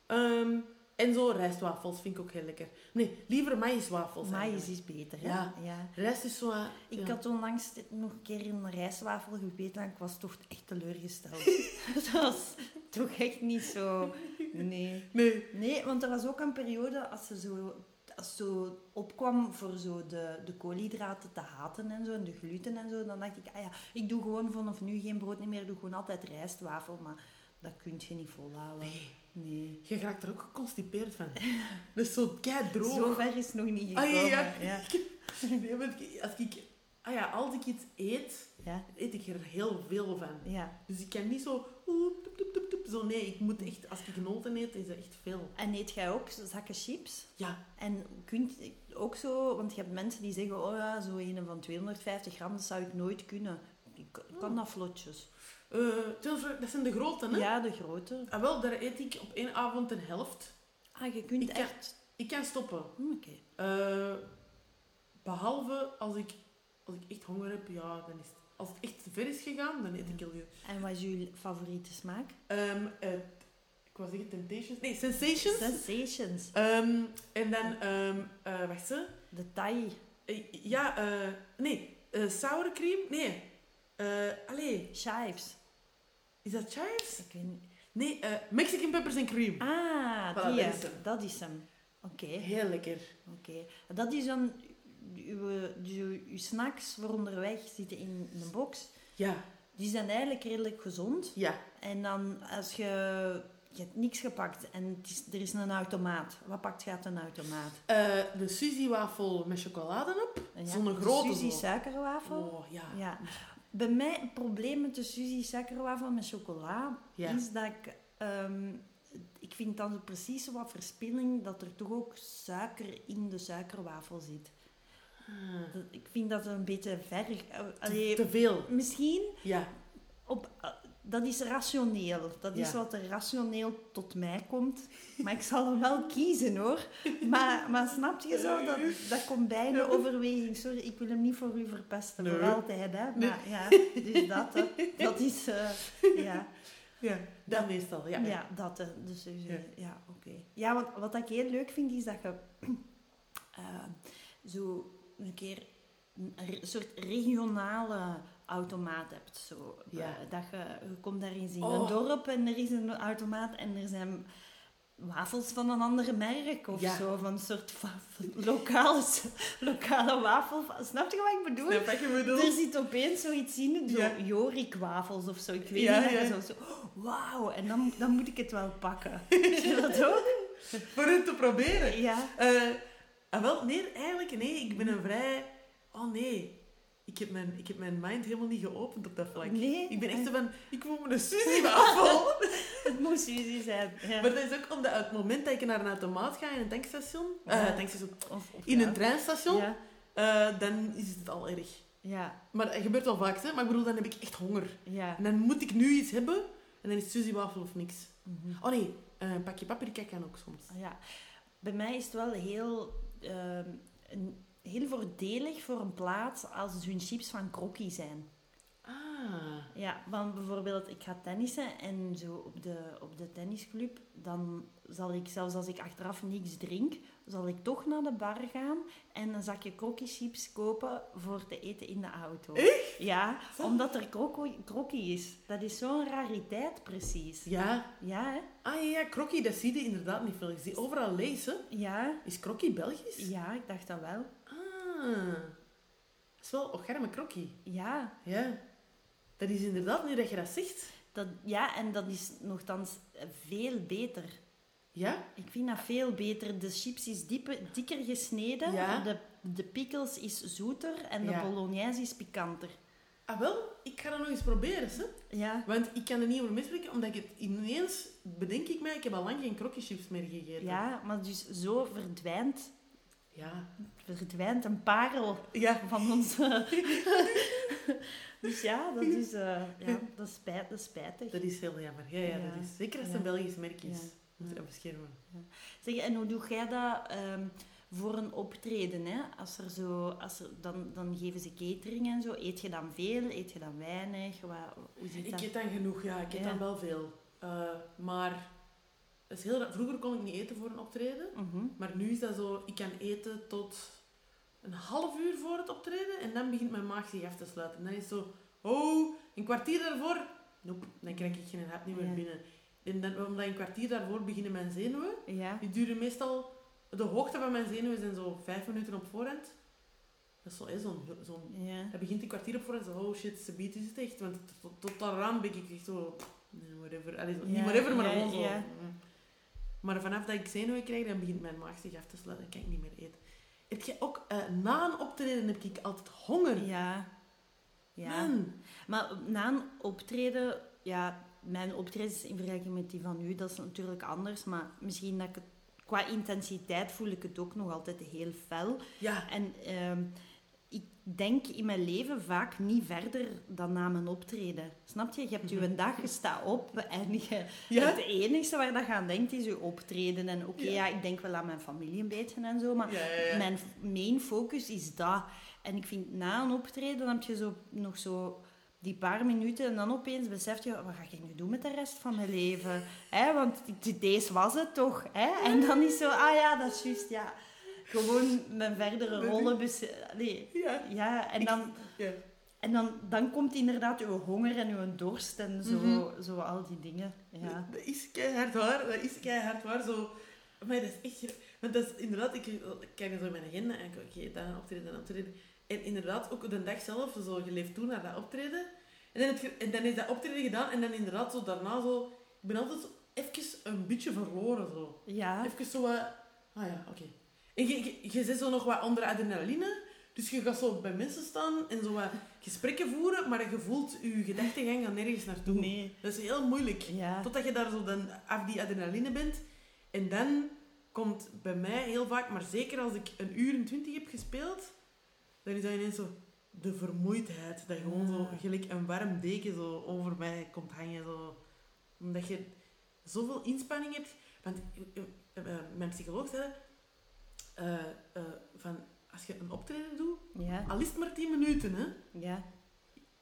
[SPEAKER 2] Ehm, en zo rijstwafels vind ik ook heel lekker. Nee, liever maïswafels.
[SPEAKER 1] Maïs
[SPEAKER 2] eigenlijk.
[SPEAKER 1] is beter. hè?
[SPEAKER 2] Ja.
[SPEAKER 1] ja.
[SPEAKER 2] Rijst is zo... eh,
[SPEAKER 1] Ik
[SPEAKER 2] ja.
[SPEAKER 1] had onlangs dit- nog een keer een rijstwafel gebeten en ik was toch echt teleurgesteld. dat was toch echt niet zo... Nee.
[SPEAKER 2] Nee.
[SPEAKER 1] Nee, want er was ook een periode als ze zo, als zo opkwam voor zo de, de koolhydraten te haten en zo, en de gluten en zo, dan dacht ik, ah ja, ik doe gewoon vanaf nu geen brood niet meer, ik doe gewoon altijd rijstwafel, maar dat kun je niet volhouden.
[SPEAKER 2] Nee.
[SPEAKER 1] Nee.
[SPEAKER 2] Je raakt er ook geconstipeerd van. Dat is zo kei droog.
[SPEAKER 1] Zo ver is het nog niet gekomen.
[SPEAKER 2] Ah, ja, ja.
[SPEAKER 1] ja.
[SPEAKER 2] Nee, want ik- als, ik, ah ja, als ik iets eet,
[SPEAKER 1] Ja,
[SPEAKER 2] eet ik er heel veel van.
[SPEAKER 1] ja.
[SPEAKER 2] Dus ik kan niet zo... oeh, toep, toep, toep, toep, zo nee, ik moet echt... Als ik noten eet, is dat echt veel.
[SPEAKER 1] En eet jij ook zakken chips?
[SPEAKER 2] Ja.
[SPEAKER 1] En kunt ook zo, want je hebt mensen die zeggen, oh ja, zo een van 250 gram, dat zou ik nooit kunnen. Ik ik kan dat vlotjes.
[SPEAKER 2] Eh, trouwens, dat zijn de grote, hè?
[SPEAKER 1] Ja, de grote.
[SPEAKER 2] Ah, wel, daar eet ik op één avond een helft.
[SPEAKER 1] Ah, je kunt
[SPEAKER 2] Ik kan-
[SPEAKER 1] echt...
[SPEAKER 2] Ik kan stoppen.
[SPEAKER 1] Hm, Oké.
[SPEAKER 2] Eh, behalve als ik, als ik echt honger heb, ja, dan is het, als het echt te ver is gegaan, dan eet ik heel veel.
[SPEAKER 1] En wat is uw favoriete smaak?
[SPEAKER 2] Ehm, eh, ik wou zeggen Temptations. Nee, Sensations.
[SPEAKER 1] Sensations.
[SPEAKER 2] Ehm, en dan, ehm eh, wacht ze.
[SPEAKER 1] De Thai
[SPEAKER 2] Eh, ja, eh, nee, eh sour cream. Nee. Eh, allee,
[SPEAKER 1] chives.
[SPEAKER 2] is dat chives?
[SPEAKER 1] Ik weet niet.
[SPEAKER 2] Nee, eh, Mexican peppers en cream.
[SPEAKER 1] Ah,
[SPEAKER 2] Voilà,
[SPEAKER 1] die.
[SPEAKER 2] dat
[SPEAKER 1] hè.
[SPEAKER 2] is hem.
[SPEAKER 1] Dat is hem. Oké,
[SPEAKER 2] Heel lekker.
[SPEAKER 1] oké. Dat is dan uw uw, dus uw, uw snacks voor onderweg zitten in een box.
[SPEAKER 2] Ja,
[SPEAKER 1] Die zijn eigenlijk redelijk gezond.
[SPEAKER 2] ja.
[SPEAKER 1] En dan als je... Je hebt niks gepakt en het is, er is een automaat. Wat pakt gaat een automaat?
[SPEAKER 2] Eh, de Suzy-wafel met chocolade op.
[SPEAKER 1] Ja,
[SPEAKER 2] Zo'n grote
[SPEAKER 1] Suzy
[SPEAKER 2] zo.
[SPEAKER 1] suikerwafel.
[SPEAKER 2] Oh, ja.
[SPEAKER 1] Ja. Bij mij het probleem met de Suzy suikerwafel met chocola
[SPEAKER 2] Ja.
[SPEAKER 1] is dat ik... ehm, ik vind dan zo precies zo wat verspilling dat er toch ook suiker in de suikerwafel zit.
[SPEAKER 2] Hmm.
[SPEAKER 1] Dat- Ik vind dat een beetje ver... eh,
[SPEAKER 2] Te,
[SPEAKER 1] allee,
[SPEAKER 2] te veel.
[SPEAKER 1] misschien,
[SPEAKER 2] Ja.
[SPEAKER 1] op, eh, dat is rationeel. Dat is
[SPEAKER 2] Ja.
[SPEAKER 1] wat er rationeel tot mij komt. Maar ik zal hem wel kiezen, hoor. Maar, maar snap je zo? Dat, dat komt bij een overweging. Sorry, ik wil hem niet voor u verpesten. Voor
[SPEAKER 2] Nee.
[SPEAKER 1] altijd, hè. Maar
[SPEAKER 2] Nee.
[SPEAKER 1] ja, dus dat, hè. dat is... eh, ja.
[SPEAKER 2] ja. Dat meestal, ja.
[SPEAKER 1] Ja, dat. eh, Dus, dus, eh,
[SPEAKER 2] Ja.
[SPEAKER 1] ja, oké. Ja, want wat ik heel leuk vind, is dat je eh, zo een keer een re- soort regionale automaat hebt. Zo.
[SPEAKER 2] Ja.
[SPEAKER 1] Eh, dat je, je komt daar eens in
[SPEAKER 2] Oh.
[SPEAKER 1] een dorp en er is een automaat en er zijn wafels van een ander merk of
[SPEAKER 2] Ja.
[SPEAKER 1] zo. Van een soort wafel- lokale, lokale wafel. Snap je wat ik bedoel?
[SPEAKER 2] Snap wat je bedoelt?
[SPEAKER 1] Er zit opeens zoiets in, zo
[SPEAKER 2] Ja.
[SPEAKER 1] Jorik-wafels of zo. Ik weet
[SPEAKER 2] Ja,
[SPEAKER 1] niet,
[SPEAKER 2] ja.
[SPEAKER 1] en zo, zo wauw, en dan, dan moet ik het wel pakken. Weet je
[SPEAKER 2] Dus-
[SPEAKER 1] dat ook?
[SPEAKER 2] Voor het te proberen.
[SPEAKER 1] Ja.
[SPEAKER 2] Eh, ah, wel, nee, eigenlijk nee. Ik ben een vrij... Oh nee. Ik heb, mijn, ik heb mijn mind helemaal niet geopend op dat vlak.
[SPEAKER 1] Nee.
[SPEAKER 2] Ik ben echt zo van... Ik wil me een Suzy-wafel.
[SPEAKER 1] Het moest Suzy zijn. Ja.
[SPEAKER 2] Maar dat is ook omdat het moment dat ik naar een automaat ga in een tankstation... eh,
[SPEAKER 1] Ja.
[SPEAKER 2] tankstation
[SPEAKER 1] Of- of
[SPEAKER 2] in
[SPEAKER 1] ja.
[SPEAKER 2] een treinstation,
[SPEAKER 1] Ja.
[SPEAKER 2] eh, dan is het al erg.
[SPEAKER 1] Ja.
[SPEAKER 2] Maar dat gebeurt wel vaak, hè. Maar ik bedoel, dan heb ik echt honger.
[SPEAKER 1] Ja.
[SPEAKER 2] En dan moet ik nu iets hebben. En dan is Suzy-wafel of niks.
[SPEAKER 1] Mhm.
[SPEAKER 2] Oh nee, eh, een pakje paprika kan ook soms.
[SPEAKER 1] ja. Bij mij is het wel heel, ehm, een- heel voordelig voor een plaats als hun chips van Crocky zijn.
[SPEAKER 2] Ah.
[SPEAKER 1] Ja, want bijvoorbeeld, ik ga tennissen en zo op de, op de tennisclub, dan zal ik, zelfs als ik achteraf niks drink, zal ik toch naar de bar gaan en een zakje chips kopen voor te eten in de auto. Echt? Ja,
[SPEAKER 2] Zo.
[SPEAKER 1] omdat er kroko- krokkie is. Dat is zo'n rariteit precies.
[SPEAKER 2] Ja.
[SPEAKER 1] Ja, hè?
[SPEAKER 2] Ah ja, ja, krokkie, dat zie je inderdaad niet veel. Je ziet overal lezen.
[SPEAKER 1] Ja,
[SPEAKER 2] Is krokkie Belgisch?
[SPEAKER 1] ja, ik dacht dat wel.
[SPEAKER 2] Ah. Dat is wel ocharme krokkie.
[SPEAKER 1] Ja,
[SPEAKER 2] Ja. Dat is inderdaad, nu dat je dat zegt.
[SPEAKER 1] dat, ja en dat is nogthans eh, veel beter.
[SPEAKER 2] Ja?
[SPEAKER 1] Ik vind dat veel beter. De chips is diepe, dikker gesneden.
[SPEAKER 2] Ja.
[SPEAKER 1] De, de pickles is zoeter en de
[SPEAKER 2] Ja.
[SPEAKER 1] bolognese is pikanter.
[SPEAKER 2] Ah wel, ik ga dat nog eens proberen, hè.
[SPEAKER 1] Ja.
[SPEAKER 2] Want ik kan er niet over meespreken, omdat ik het ineens... Bedenk ik mij, ik heb al lang geen krokkieschips meer gegeten.
[SPEAKER 1] ja, maar dus zo verdwijnt,
[SPEAKER 2] Ja.
[SPEAKER 1] verdwijnt een parel
[SPEAKER 2] Ja.
[SPEAKER 1] van onze... dus ja, dat is, eh, ja, dat is, spijt, dat is spijtig.
[SPEAKER 2] Dat is heel jammer. Ja, ja,
[SPEAKER 1] Ja.
[SPEAKER 2] dat is... Zeker als het
[SPEAKER 1] Ja.
[SPEAKER 2] een Belgisch merk is.
[SPEAKER 1] Ja.
[SPEAKER 2] Moet je
[SPEAKER 1] Ja.
[SPEAKER 2] dat beschermen.
[SPEAKER 1] Zeg, en hoe doe jij dat ehm, voor een optreden? Hè? Als er zo, als er, dan, dan geven ze catering en zo. Eet je dan veel? Eet je dan weinig? Wat, hoe zit
[SPEAKER 2] Ik
[SPEAKER 1] dat?
[SPEAKER 2] eet dan genoeg, ja. Ik eet
[SPEAKER 1] Ja.
[SPEAKER 2] dan wel veel. Eh, maar dat is heel raar. vroeger kon ik niet eten voor een optreden.
[SPEAKER 1] Mhm.
[SPEAKER 2] Maar nu is dat zo, ik kan eten tot een half uur voor het optreden. En dan begint mijn maag zich af te sluiten. En dan is het zo, oh, een kwartier daarvoor... Nope, dan krijg ik geen hap niet meer
[SPEAKER 1] Ja.
[SPEAKER 2] binnen. En dan, omdat een kwartier daarvoor beginnen mijn zenuwen.
[SPEAKER 1] Ja.
[SPEAKER 2] Die duren meestal... De hoogte van mijn zenuwen zijn zo vijf minuten op voorhand. Dat is zo, hè, zo'n... zo'n
[SPEAKER 1] Ja.
[SPEAKER 2] hij begint een kwartier op voor en zo, oh shit, ze biedt is het echt. Want tot, tot daaraan ben ik echt zo, pff, nee, whatever. Allee, zo, niet
[SPEAKER 1] Ja,
[SPEAKER 2] whatever, maar
[SPEAKER 1] ja,
[SPEAKER 2] gewoon zo.
[SPEAKER 1] ja.
[SPEAKER 2] mm. Maar vanaf dat ik zenuwen krijg, dan begint mijn maag zich af te sluiten. Dan kan ik niet meer eten. Heb je ook, eh, na een optreden heb ik altijd honger.
[SPEAKER 1] Ja. Ja.
[SPEAKER 2] Man.
[SPEAKER 1] Maar na een optreden, ja, mijn optredens in vergelijking met die van u, dat is natuurlijk anders. Maar misschien dat ik het, qua intensiteit voel ik het ook nog altijd heel fel.
[SPEAKER 2] Ja.
[SPEAKER 1] En ehm, ik denk in mijn leven vaak niet verder dan na mijn optreden. Snap je? Je hebt je dag, je staat op en je,
[SPEAKER 2] Mhm. Ja.
[SPEAKER 1] het enige waar je aan denkt is je optreden. En oké,
[SPEAKER 2] Ja.
[SPEAKER 1] ja. ik denk wel aan mijn familie een beetje en zo, maar
[SPEAKER 2] Ja, ja, ja.
[SPEAKER 1] mijn f- main focus is dat. En ik vind, na een optreden dan heb je zo, nog zo die paar minuten en dan opeens besef je, wat ga ik nu doen met de rest van mijn leven? hè want d- deze was het toch? hè En dan is zo, ah ja, dat is juist, ja. Gewoon mijn
[SPEAKER 2] Mhm.
[SPEAKER 1] verdere rollen... bes- Allee,
[SPEAKER 2] Ja.
[SPEAKER 1] ja, en dan,
[SPEAKER 2] Ja.
[SPEAKER 1] en dan, dan komt inderdaad uw honger en uw dorst en zo,
[SPEAKER 2] Mhm.
[SPEAKER 1] zo al die dingen. Ja.
[SPEAKER 2] Dat is keihard waar. Dat is keihard waar. Zo, maar dat is echt... Want dat is inderdaad, ik, ik kijk zo in mijn agenda en ik oké, dan optreden, dan optreden. En inderdaad, ook de dag zelf, zo, je leeft toe naar dat optreden. En dan, heb je- en dan is dat optreden gedaan en dan inderdaad zo daarna zo... Ik ben altijd zo even een beetje verloren zo.
[SPEAKER 1] Ja.
[SPEAKER 2] Even zo wat... Ah ja, oké. En je, je, je zit zo nog wat onder adrenaline. Dus je gaat zo bij mensen staan en zo wat gesprekken voeren, maar je voelt je gedachtegang gaan nergens naartoe.
[SPEAKER 1] Nee.
[SPEAKER 2] Dat is heel moeilijk.
[SPEAKER 1] Ja.
[SPEAKER 2] Totdat je daar zo dan af die adrenaline bent. En dan komt bij mij heel vaak, maar zeker als ik een uur en twintig heb gespeeld, dan is dat ineens zo de vermoeidheid. Dat gewoon zo
[SPEAKER 1] Ah.
[SPEAKER 2] gelijk een warm deken zo over mij komt hangen. Zo. Omdat je zoveel inspanning hebt. Want eh, eh, eh, mijn psycholoog zei eh, eh, van als je een optreden doet,
[SPEAKER 1] Ja.
[SPEAKER 2] al is het maar 10 minuten, hè,
[SPEAKER 1] Ja.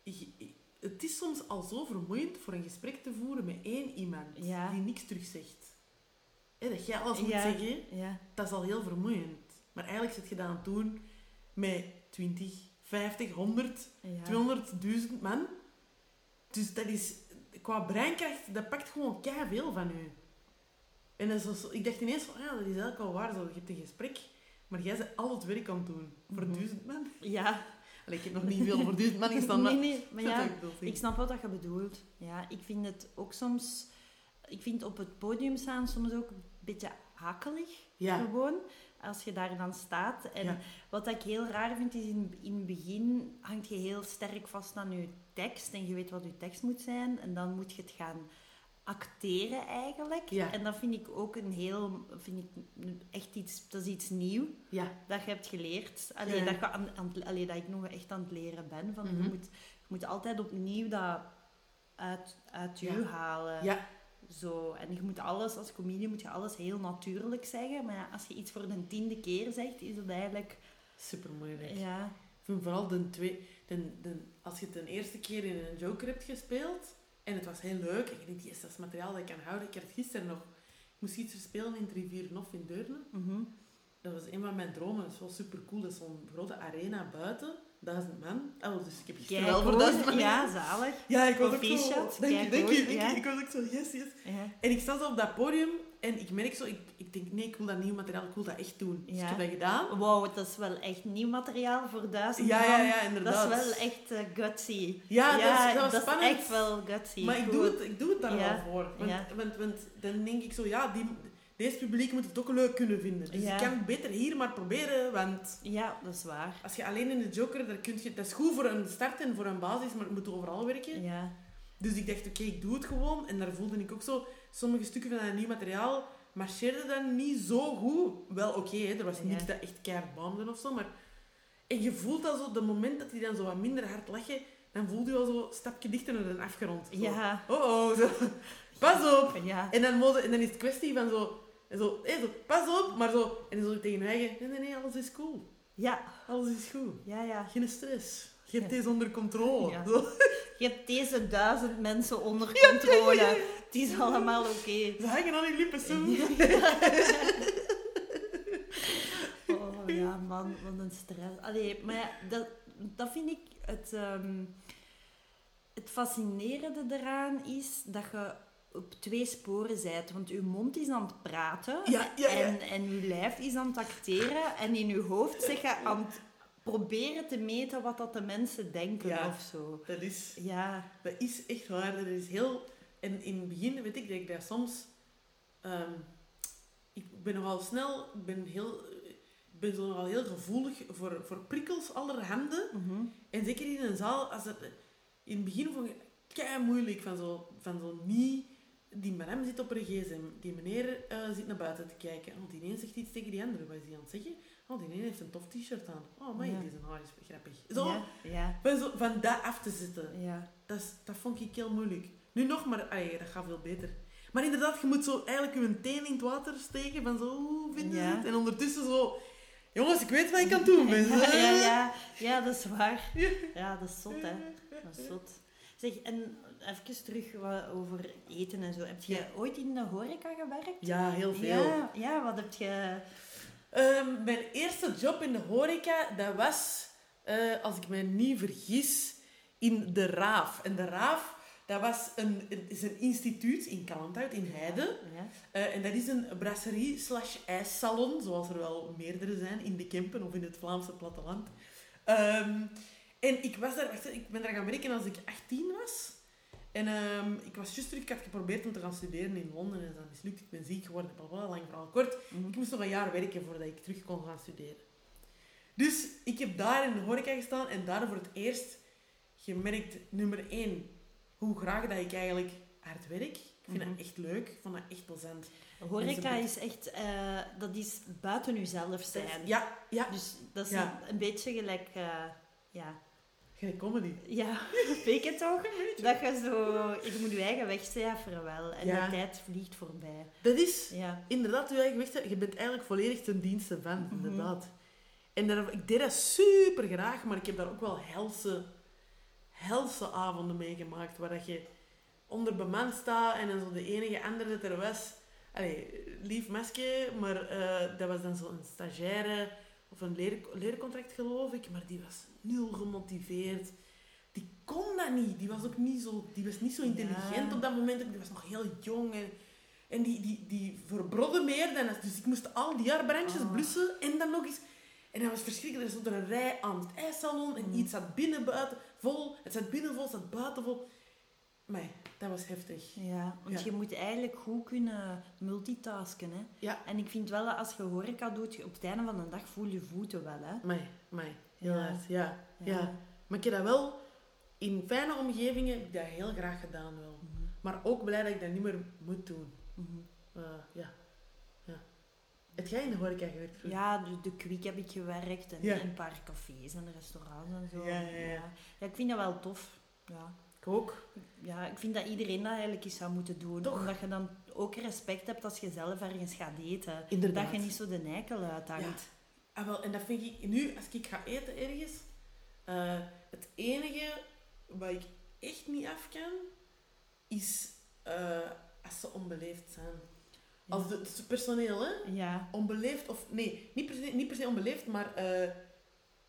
[SPEAKER 2] je- je- het is soms al zo vermoeiend voor een gesprek te voeren met één iemand
[SPEAKER 1] Ja.
[SPEAKER 2] die niks terugzegt. Hè, dat jij alles moet
[SPEAKER 1] Ja.
[SPEAKER 2] zeggen, hè,
[SPEAKER 1] Ja.
[SPEAKER 2] dat is al heel vermoeiend. Maar eigenlijk zit je dat aan het doen met 20, 50, 100,
[SPEAKER 1] Ja.
[SPEAKER 2] 200, 1000 man. Dus dat is, qua breinkracht, dat pakt gewoon veel van u. En dat is zo- zo- ik dacht ineens van, ja, dat is eigenlijk al waar, zo. je hebt een gesprek, maar jij bent al het werk aan het doen voor
[SPEAKER 1] Mhm.
[SPEAKER 2] 1000 man.
[SPEAKER 1] Ja.
[SPEAKER 2] Allee, ik heb nog niet veel voor 1000 man gestaan, maar...
[SPEAKER 1] Nee, nee, maar ja.
[SPEAKER 2] ik, bedoel,
[SPEAKER 1] Ik snap wat dat je bedoelt. Ja, ik vind het ook soms... Ik vind op het podium staan soms ook een beetje hakelig.
[SPEAKER 2] Ja.
[SPEAKER 1] Gewoon. Als je daar dan staat. En
[SPEAKER 2] Ja.
[SPEAKER 1] wat ik heel raar vind, is in, in het begin hangt je heel sterk vast aan je tekst. En je weet wat je tekst moet zijn. En dan moet je het gaan acteren eigenlijk.
[SPEAKER 2] Ja.
[SPEAKER 1] En dat vind ik ook een heel... Vind ik echt iets... Dat is iets nieuw
[SPEAKER 2] Ja.
[SPEAKER 1] dat je hebt geleerd. Allee,
[SPEAKER 2] Ja.
[SPEAKER 1] dat, je aan, aan het- allee, dat ik nog echt aan het leren ben. Van,
[SPEAKER 2] Mhm.
[SPEAKER 1] je, moet, je moet altijd opnieuw dat uit, uit
[SPEAKER 2] Ja.
[SPEAKER 1] je halen.
[SPEAKER 2] Ja.
[SPEAKER 1] Zo. En je moet alles, als comedian moet je alles heel natuurlijk zeggen. Maar ja, als je iets voor de tiende keer zegt, is dat eigenlijk...
[SPEAKER 2] Super moeilijk.
[SPEAKER 1] Ja,
[SPEAKER 2] Ik vind vooral de twee... De, de, als je het de eerste keer in een joker hebt gespeeld, en het was heel leuk, en je denkt, yes, dat is materiaal dat ik kan houden. Ik had het gisteren nog... Ik moest iets spelen in het Rivieren of in Deurne.
[SPEAKER 1] mhm.
[SPEAKER 2] Dat was een van mijn dromen. Dat is wel super cool. Dat is zo'n grote arena buiten. Duizend man. Oh, dus ik heb gisteren wel voor
[SPEAKER 1] Keigoed.
[SPEAKER 2] duizend man.
[SPEAKER 1] Ja, zalig.
[SPEAKER 2] Ja, ik was
[SPEAKER 1] Voor
[SPEAKER 2] ook zo...
[SPEAKER 1] Fischat,
[SPEAKER 2] Dank je, dank
[SPEAKER 1] keigoed,
[SPEAKER 2] je. dank
[SPEAKER 1] ja.
[SPEAKER 2] je. Ik was ook zo, yes, yes.
[SPEAKER 1] Ja.
[SPEAKER 2] En ik sta zo op dat podium en ik merk zo, ik, ik denk, nee, ik wil dat nieuw materiaal, ik wil dat echt doen. Dus
[SPEAKER 1] Ja.
[SPEAKER 2] ik heb dat gedaan.
[SPEAKER 1] Wow, dat is wel echt nieuw materiaal voor duizend
[SPEAKER 2] Ja, ja,
[SPEAKER 1] man.
[SPEAKER 2] ja, inderdaad.
[SPEAKER 1] Dat is wel echt eh, gutsy.
[SPEAKER 2] Ja, dat, is, dat was
[SPEAKER 1] is
[SPEAKER 2] spannend.
[SPEAKER 1] echt wel gutsy.
[SPEAKER 2] maar ik
[SPEAKER 1] Goed.
[SPEAKER 2] doe, het, ik doe het daar
[SPEAKER 1] Ja,
[SPEAKER 2] wel voor. Want,
[SPEAKER 1] ja.
[SPEAKER 2] want, want dan denk ik zo, ja, die, deze publiek moet het ook leuk kunnen vinden. Dus
[SPEAKER 1] Ja.
[SPEAKER 2] ik kan het beter hier maar proberen, want
[SPEAKER 1] Ja, dat is waar.
[SPEAKER 2] als je alleen in de Joker, daar kun je, dat is goed voor een start en voor een basis, maar het moet overal werken.
[SPEAKER 1] Ja.
[SPEAKER 2] Dus ik dacht, oké, ik doe het gewoon. En daar voelde ik ook zo, sommige stukken van dat nieuw materiaal marcheerden dan niet zo goed. Wel oké, hè, er was
[SPEAKER 1] Ja.
[SPEAKER 2] niks dat echt keihard boomde of zo, maar... En je voelt dat zo, de moment dat die dan zo wat minder hard lachen, dan voelde je al zo een stapje dichter naar een afgrond. Zo.
[SPEAKER 1] Ja.
[SPEAKER 2] Oh, oh, zo. pas op.
[SPEAKER 1] Ja.
[SPEAKER 2] En dan, mogen- en dan is het kwestie van zo, en zo, hé, zo, pas op, maar zo. En dan zo tegen je eigen, nee, nee, nee, alles is cool.
[SPEAKER 1] Ja,
[SPEAKER 2] Alles is goed.
[SPEAKER 1] ja, ja.
[SPEAKER 2] Geen stress. Je hebt deze onder controle.
[SPEAKER 1] Ja.
[SPEAKER 2] Zo.
[SPEAKER 1] Je hebt deze duizend mensen onder controle. Het is allemaal oké.
[SPEAKER 2] Ze hangen aan je lippen, zo.
[SPEAKER 1] Oh ja, man, wat een stress. Allee, maar ja, dat, dat vind ik het, ehm, het fascinerende eraan is dat je op twee sporen zijt. Want je mond is aan het praten
[SPEAKER 2] Ja, ja, ja.
[SPEAKER 1] En, en je lijf is aan het acteren. En in je hoofd zeg je aan het proberen te meten wat dat de mensen denken
[SPEAKER 2] Ja.
[SPEAKER 1] of zo.
[SPEAKER 2] Dat is,
[SPEAKER 1] Ja.
[SPEAKER 2] dat is echt waar. Dat is heel... En in het begin weet ik dat ik daar soms... ehm, ik ben nogal snel... Ik ben, heel, ik ben zo nogal heel gevoelig voor, voor prikkels allerhande.
[SPEAKER 1] mhm.
[SPEAKER 2] En zeker in een zaal, als dat, in het begin vond ik het kei moeilijk van zo, van zo niet. Die madame zit op haar gsm, die meneer eh, zit naar buiten te kijken. Oh, die een zegt iets tegen die andere, wat is die aan het zeggen? Oh, die een heeft een tof t-shirt aan. Oh, maar
[SPEAKER 1] Ja.
[SPEAKER 2] die zijn haar is grappig. Zo,
[SPEAKER 1] Ja, ja,
[SPEAKER 2] van, zo, van dat af te zitten,
[SPEAKER 1] ja.
[SPEAKER 2] dat, is- dat vond ik heel moeilijk. Nu nog, maar ai, dat gaat veel beter. Maar inderdaad, je moet zo eigenlijk je teen in het water steken van zo, hoe vinden ze
[SPEAKER 1] Ja.
[SPEAKER 2] het? En ondertussen zo, jongens, ik weet wat ik aan het doen ben.
[SPEAKER 1] Ja, ja, ja. Ja, dat is waar. Ja, dat is zot, hè. Dat is zot. Zeg, en even terug wat over eten en zo. Heb je
[SPEAKER 2] Ja.
[SPEAKER 1] ooit in de horeca gewerkt?
[SPEAKER 2] Ja, heel veel.
[SPEAKER 1] Ja, ja, wat heb je...
[SPEAKER 2] Ehm, mijn eerste job in de horeca, dat was, eh, als ik me niet vergis, in De Raaf. En De Raaf, Dat was een, een- is een instituut in Kalmthout, in Heide.
[SPEAKER 1] Ja.
[SPEAKER 2] Eh, en dat is een brasserie slash ijssalon, zoals er wel meerdere zijn in de Kempen of in het Vlaamse platteland. Ehm, en ik was daar, wacht, hè, ik ben daar gaan werken als ik 18 was. En ehm, ik was juist terug, ik had geprobeerd om te gaan studeren in Londen en dat is dan mislukt. Ik ben ziek geworden, blablabla, lang verhaal kort. Ik moest nog een jaar werken voordat ik terug kon gaan studeren. Dus ik heb daar in de horeca gestaan en daar voor het eerst gemerkt, nummer één, hoe graag dat ik eigenlijk hard werk. Ik vind
[SPEAKER 1] Mhm.
[SPEAKER 2] dat echt leuk, ik vond dat echt plezant.
[SPEAKER 1] Horeca
[SPEAKER 2] Mensen-
[SPEAKER 1] is echt, eh, dat is buiten uzelf zijn.
[SPEAKER 2] Ja, ja.
[SPEAKER 1] Dus dat is
[SPEAKER 2] Ja.
[SPEAKER 1] een, een beetje gelijk, eh, ja,
[SPEAKER 2] Geen comedy.
[SPEAKER 1] ja, weet je toch? Dat je zo, je moet je eigen weg cijferen wel. En
[SPEAKER 2] Ja.
[SPEAKER 1] de tijd vliegt voorbij.
[SPEAKER 2] Dat is
[SPEAKER 1] Ja.
[SPEAKER 2] inderdaad je eigen weg. Je bent eigenlijk volledig ten dienste van,
[SPEAKER 1] Mhm.
[SPEAKER 2] inderdaad. En daar, ik deed dat super graag, maar ik heb daar ook wel helse, helse avonden meegemaakt. Waar dat je onder bemand staat en dan zo de enige andere dat er was. Allee, lief mesje, maar eh, dat was dan zo'n stagiaire of een leer, leercontract geloof ik. Maar die was nul gemotiveerd. Die kon dat niet. Die was ook niet zo, die was niet zo intelligent
[SPEAKER 1] Ja.
[SPEAKER 2] op dat moment. ook. Die was nog heel jong. En, en die, die, die verbrodde meer dan... Dus ik moest al die jaar brandjes
[SPEAKER 1] Ah.
[SPEAKER 2] blussen en dan nog eens... En dat was verschrikkelijk. Er stond er een rij aan het ijssalon en
[SPEAKER 1] Mm.
[SPEAKER 2] iets zat binnen, buiten, vol. Het zat binnen vol, het zat buiten vol. Maar dat was heftig.
[SPEAKER 1] Ja, want
[SPEAKER 2] Ja.
[SPEAKER 1] je moet eigenlijk goed kunnen multitasken. Hè?
[SPEAKER 2] Ja.
[SPEAKER 1] En ik vind wel dat als je horeca doet, je op het einde van de dag voel je voeten wel. Hè?
[SPEAKER 2] Mij, mij. Heel
[SPEAKER 1] Ja.
[SPEAKER 2] hard, ja. Ja. Maar ik heb dat wel... In fijne omgevingen heb ik dat heel graag gedaan wel.
[SPEAKER 1] Mhm.
[SPEAKER 2] Maar ook blij dat ik dat niet meer moet doen.
[SPEAKER 1] Mhm.
[SPEAKER 2] Eh, ja. Ja. Heb jij in de horeca gewerkt? vroeger?
[SPEAKER 1] Ja, de, de Kwik heb ik gewerkt en
[SPEAKER 2] Ja.
[SPEAKER 1] in een paar cafés en restaurants en zo.
[SPEAKER 2] Ja, ja, ja.
[SPEAKER 1] Ja, ik vind dat wel tof. Ja.
[SPEAKER 2] Ik ook.
[SPEAKER 1] ja, ik vind dat iedereen dat eigenlijk eens zou moeten doen.
[SPEAKER 2] Toch?
[SPEAKER 1] Omdat je dan ook respect hebt als je zelf ergens gaat eten.
[SPEAKER 2] Inderdaad.
[SPEAKER 1] Dat je niet zo de neikel uithangt.
[SPEAKER 2] Ah, wel, en dat vind ik nu, als ik ga eten ergens, eh, het enige wat ik echt niet af kan, is eh, als ze onbeleefd zijn.
[SPEAKER 1] Ja.
[SPEAKER 2] Als de, het personeel, hè?
[SPEAKER 1] Ja.
[SPEAKER 2] Onbeleefd of nee, niet per se, niet per se onbeleefd, maar eh,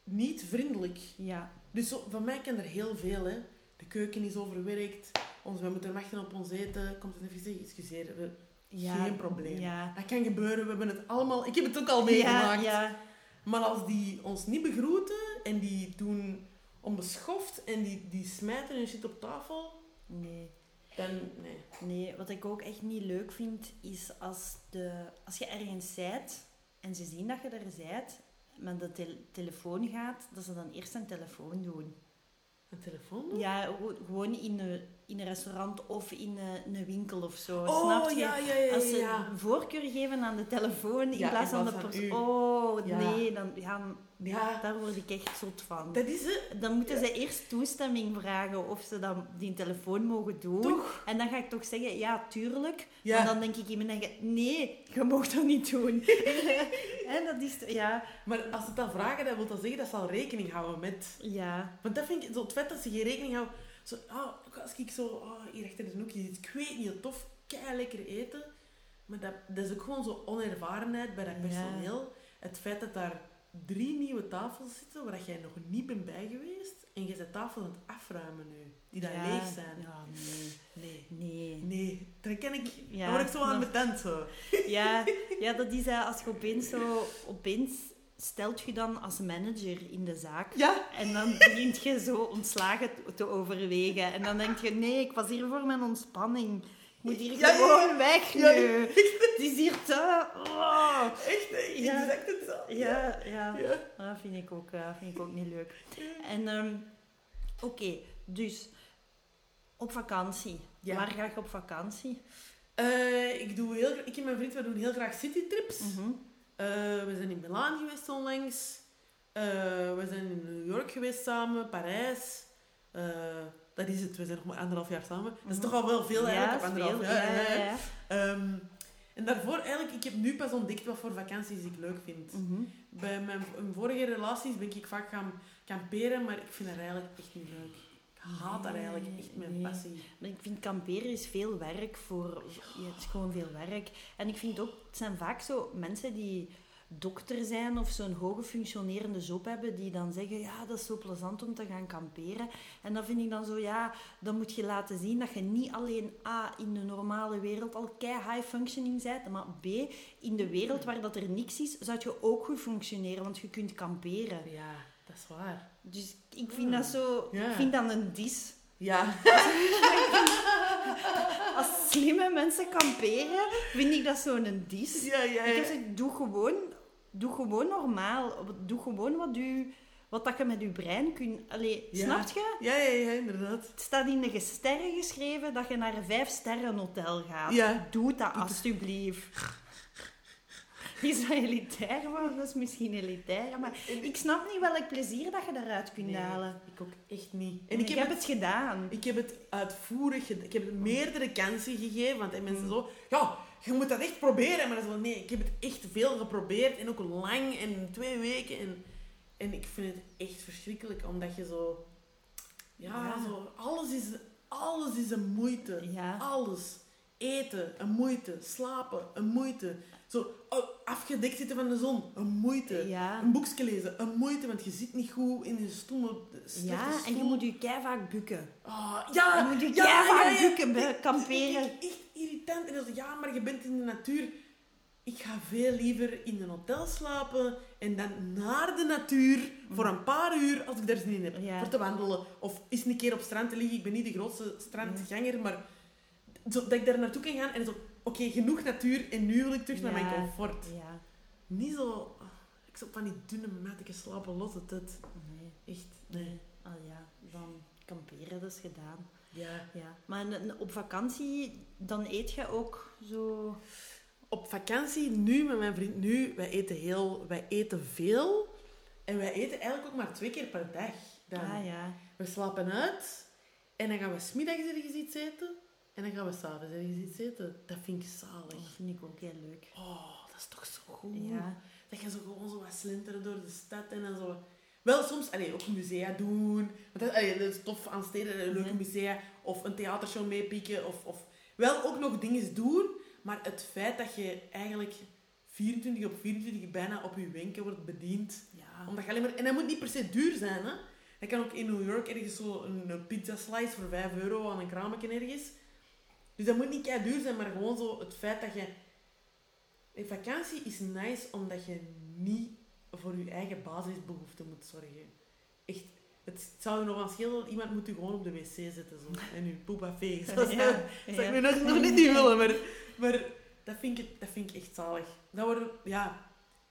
[SPEAKER 2] niet vriendelijk.
[SPEAKER 1] Ja.
[SPEAKER 2] Dus zo, van mij kan er heel veel, hè? De keuken is overwerkt, ons, we moeten wachten op ons eten. Komt het even zeggen, excuseer, we-
[SPEAKER 1] ja.
[SPEAKER 2] Geen probleem.
[SPEAKER 1] Ja.
[SPEAKER 2] dat kan gebeuren, we hebben het allemaal, ik heb het ook al meegemaakt.
[SPEAKER 1] Ja, ja.
[SPEAKER 2] Maar als die ons niet begroeten en die doen onbeschoft en die, die smijten hun shit op tafel,
[SPEAKER 1] Nee.
[SPEAKER 2] dan nee.
[SPEAKER 1] Nee, wat ik ook echt niet leuk vind, is als, de, als je ergens zijt en ze zien dat je er zijt, maar de tel- telefoon gaat, dat ze dan eerst een telefoon doen.
[SPEAKER 2] Een telefoon? doen?
[SPEAKER 1] Ja, gewoon- gewoon in een, in een restaurant of in een, een winkel of zo,
[SPEAKER 2] oh,
[SPEAKER 1] snap je?
[SPEAKER 2] ja, ja, ja, ja.
[SPEAKER 1] Als ze
[SPEAKER 2] ja.
[SPEAKER 1] voorkeur geven aan de telefoon in
[SPEAKER 2] Ja,
[SPEAKER 1] plaats
[SPEAKER 2] in
[SPEAKER 1] van de
[SPEAKER 2] plaats van u.
[SPEAKER 1] persoon. Oh,
[SPEAKER 2] Ja.
[SPEAKER 1] nee, dan, ja, dan-
[SPEAKER 2] Ja.
[SPEAKER 1] daar word ik echt zot van.
[SPEAKER 2] Dat is het.
[SPEAKER 1] Dan moeten
[SPEAKER 2] Ja.
[SPEAKER 1] ze eerst toestemming vragen of ze dan die telefoon mogen doen.
[SPEAKER 2] Toch?
[SPEAKER 1] En dan ga ik toch zeggen, ja, tuurlijk.
[SPEAKER 2] Ja.
[SPEAKER 1] Maar dan denk ik in mijn eigen, nee, je mag dat niet doen. en dat is, ja,
[SPEAKER 2] Maar als ze het dan vragen, dan wil dat zeggen dat ze al rekening houden met.
[SPEAKER 1] ja.
[SPEAKER 2] Want dat vind ik zo het vet dat ze geen rekening houden. Zo, ah, als ik zo ah, hier achter de hoekje zit, ik weet niet, tof, kei lekker eten. Maar dat, dat is ook gewoon zo onervarenheid bij dat
[SPEAKER 1] Ja.
[SPEAKER 2] personeel. Het feit dat daar drie nieuwe tafels zitten waar jij nog niet bent bij geweest. En je zet tafels aan het afruimen nu, die daar
[SPEAKER 1] ja.
[SPEAKER 2] leeg zijn.
[SPEAKER 1] Ja, nee.
[SPEAKER 2] Nee.
[SPEAKER 1] Nee.
[SPEAKER 2] Nee, daar ken ik.
[SPEAKER 1] Ja,
[SPEAKER 2] daar word ik zo aan
[SPEAKER 1] dan-
[SPEAKER 2] mijn tent zo.
[SPEAKER 1] Ja, ja, dat is eh, als je opeens zo, opeens stelt je dan als manager in de zaak.
[SPEAKER 2] Ja,
[SPEAKER 1] En dan begint je zo ontslagen te- te overwegen. En dan denk je, nee, ik was hier voor mijn ontspanning. Ik moet hier
[SPEAKER 2] Ja, ja,
[SPEAKER 1] gewoon weg
[SPEAKER 2] ja,
[SPEAKER 1] nu. Het is hier te... oh.
[SPEAKER 2] echt, hè,
[SPEAKER 1] Ja.
[SPEAKER 2] exact hetzelfde.
[SPEAKER 1] Ja, ja.
[SPEAKER 2] Ja.
[SPEAKER 1] Dat vind ik ook, eh, vind ik ook niet leuk. En ehm, oké, dus op vakantie.
[SPEAKER 2] Ja.
[SPEAKER 1] Waar ga je op vakantie?
[SPEAKER 2] Eh, ik, doe heel, gra- ik en mijn vriend we doen heel graag citytrips.
[SPEAKER 1] Mhm.
[SPEAKER 2] Eh, we zijn in Milaan geweest onlangs. Eh, we zijn in New York geweest samen, Parijs. Eh, dat is het, we zijn nog maar anderhalf jaar samen. Dat is toch al wel veel eigenlijk, op
[SPEAKER 1] Mhm. is
[SPEAKER 2] anderhalf
[SPEAKER 1] veel.
[SPEAKER 2] jaar.
[SPEAKER 1] Ja,
[SPEAKER 2] hè.
[SPEAKER 1] ja, ja.
[SPEAKER 2] Ehm, en daarvoor eigenlijk, ik heb nu pas ontdekt wat voor vakanties ik leuk vind.
[SPEAKER 1] Mhm.
[SPEAKER 2] Bij mijn, mijn vorige relaties ben ik vaak gaan kamperen, maar ik vind dat eigenlijk echt niet leuk. Ik haat dat eigenlijk echt met
[SPEAKER 1] Nee.
[SPEAKER 2] passie.
[SPEAKER 1] Maar Ik vind kamperen is veel werk voor... Ja, het is gewoon veel werk. En ik vind ook, het zijn vaak zo mensen die dokter zijn of zo'n hoge functionerende job hebben die dan zeggen, ja, dat is zo plezant om te gaan kamperen. En dan vind ik dan zo, ja, dan moet je laten zien dat je niet alleen A, in de normale wereld al kei high functioning bent, maar B, in de wereld waar dat er niks is, zou je ook goed functioneren, want je kunt kamperen.
[SPEAKER 2] Ja, dat is waar.
[SPEAKER 1] Dus ik vind dat zo,
[SPEAKER 2] Ja.
[SPEAKER 1] ik vind dat een dis.
[SPEAKER 2] Ja.
[SPEAKER 1] Als slimme mensen kamperen, vind ik dat zo'n dis.
[SPEAKER 2] Ja, ja,
[SPEAKER 1] Ik heb
[SPEAKER 2] ja.
[SPEAKER 1] gezegd, doe gewoon, doe gewoon normaal. Doe gewoon wat, u, wat dat je met je brein kunt... Allee,
[SPEAKER 2] Ja.
[SPEAKER 1] snapt snap je?
[SPEAKER 2] Ja, ja, ja, inderdaad.
[SPEAKER 1] Het staat in de sterren geschreven dat je naar een vijf-sterren-hotel gaat.
[SPEAKER 2] Ja.
[SPEAKER 1] Doe dat alstublieft. Is dat elitair? Maar dat is misschien elitair. Maar ik snap niet welk plezier dat je daaruit kunt halen.
[SPEAKER 2] ik ook echt niet.
[SPEAKER 1] En ik, heb het, gedaan.
[SPEAKER 2] Ik heb het uitvoerig gedaan. Ik heb het meerdere kansen gegeven. Want en
[SPEAKER 1] Mm.
[SPEAKER 2] mensen zo... Ja, je moet dat echt proberen. Maar dat is wel... Nee, ik heb het echt veel geprobeerd. En ook lang. En twee weken. En, en ik vind het echt verschrikkelijk. Omdat je zo... Ja,
[SPEAKER 1] Ja.
[SPEAKER 2] zo... Alles is, alles is een moeite.
[SPEAKER 1] Ja.
[SPEAKER 2] Alles. Eten, een moeite. Slapen, een moeite. Zo oh, afgedekt zitten van de zon, een moeite.
[SPEAKER 1] Ja.
[SPEAKER 2] Een boekje lezen, een moeite. Want je zit niet goed in je stoel.
[SPEAKER 1] Ja, en je moet je kei vaak bukken.
[SPEAKER 2] Ah, ja,
[SPEAKER 1] Je moet je
[SPEAKER 2] ja, ja,
[SPEAKER 1] keivaak
[SPEAKER 2] ja.
[SPEAKER 1] bukken bij
[SPEAKER 2] Ik- ik-
[SPEAKER 1] kamperen.
[SPEAKER 2] ik- Echt irritant. En dan zo, ja, maar je bent in de natuur. Ik ga veel liever in een hotel slapen en dan naar de natuur voor een paar uur, als ik daar zin in heb,
[SPEAKER 1] Ja.
[SPEAKER 2] voor te wandelen. Of eens een keer op strand te liggen. Ik ben niet de grootste strandganger, maar zo, dat ik daar naartoe kan gaan en zo... Oké, genoeg natuur en nu wil ik terug naar
[SPEAKER 1] Ja.
[SPEAKER 2] mijn comfort.
[SPEAKER 1] Ja,
[SPEAKER 2] Niet zo... ah, Ik zat van die dunne mattige slapen los. Het, het.
[SPEAKER 1] nee.
[SPEAKER 2] Echt, nee.
[SPEAKER 1] Ah ja, dan kamperen, dat is gedaan.
[SPEAKER 2] Ja.
[SPEAKER 1] Ja. Maar en- en op vakantie, dan eet je ook zo...
[SPEAKER 2] op vakantie, nu met mijn vriend, nu, wij eten heel, wij eten veel. En wij eten eigenlijk ook maar twee keer per dag. Dan.
[SPEAKER 1] Ah ja.
[SPEAKER 2] We slapen uit en dan gaan we smiddags ergens iets eten. En dan gaan we s'avonds ergens iets eten. Dat vind ik
[SPEAKER 1] Dat
[SPEAKER 2] zalig.
[SPEAKER 1] vind ik ook heel leuk.
[SPEAKER 2] Oh, dat is toch zo goed.
[SPEAKER 1] Ja.
[SPEAKER 2] Dat je zo gewoon zo wat slinteren door de stad en dan zo. Wel soms allee, ook musea doen. Want dat, allee, dat is tof aan steden, een leuke
[SPEAKER 1] Mhm.
[SPEAKER 2] musea. Of een theatershow meepikken. Of, of wel ook nog dingen doen. Maar het feit dat je eigenlijk 24 op 24 bijna op je wenken wordt bediend.
[SPEAKER 1] Ja.
[SPEAKER 2] Omdat je alleen maar, en dat moet niet per se duur zijn. Hè? Dat kan ook in New York ergens zo een, een pizza slice voor 5 euro aan een kraamje ergens. Dus dat moet niet kei duur zijn, maar gewoon zo het feit dat je... Een vakantie is nice omdat je niet voor je eigen basisbehoeften moet zorgen. Echt, het zou je nog aan schelen, iemand moet je gewoon op de wc zetten zo, en je poep afvegen. Zo, zo.
[SPEAKER 1] Ja,
[SPEAKER 2] Dat
[SPEAKER 1] ja.
[SPEAKER 2] zou ik nu nog, nog net niet willen, maar, maar dat, vind ik, dat vind ik echt zalig. Dat wordt, ja,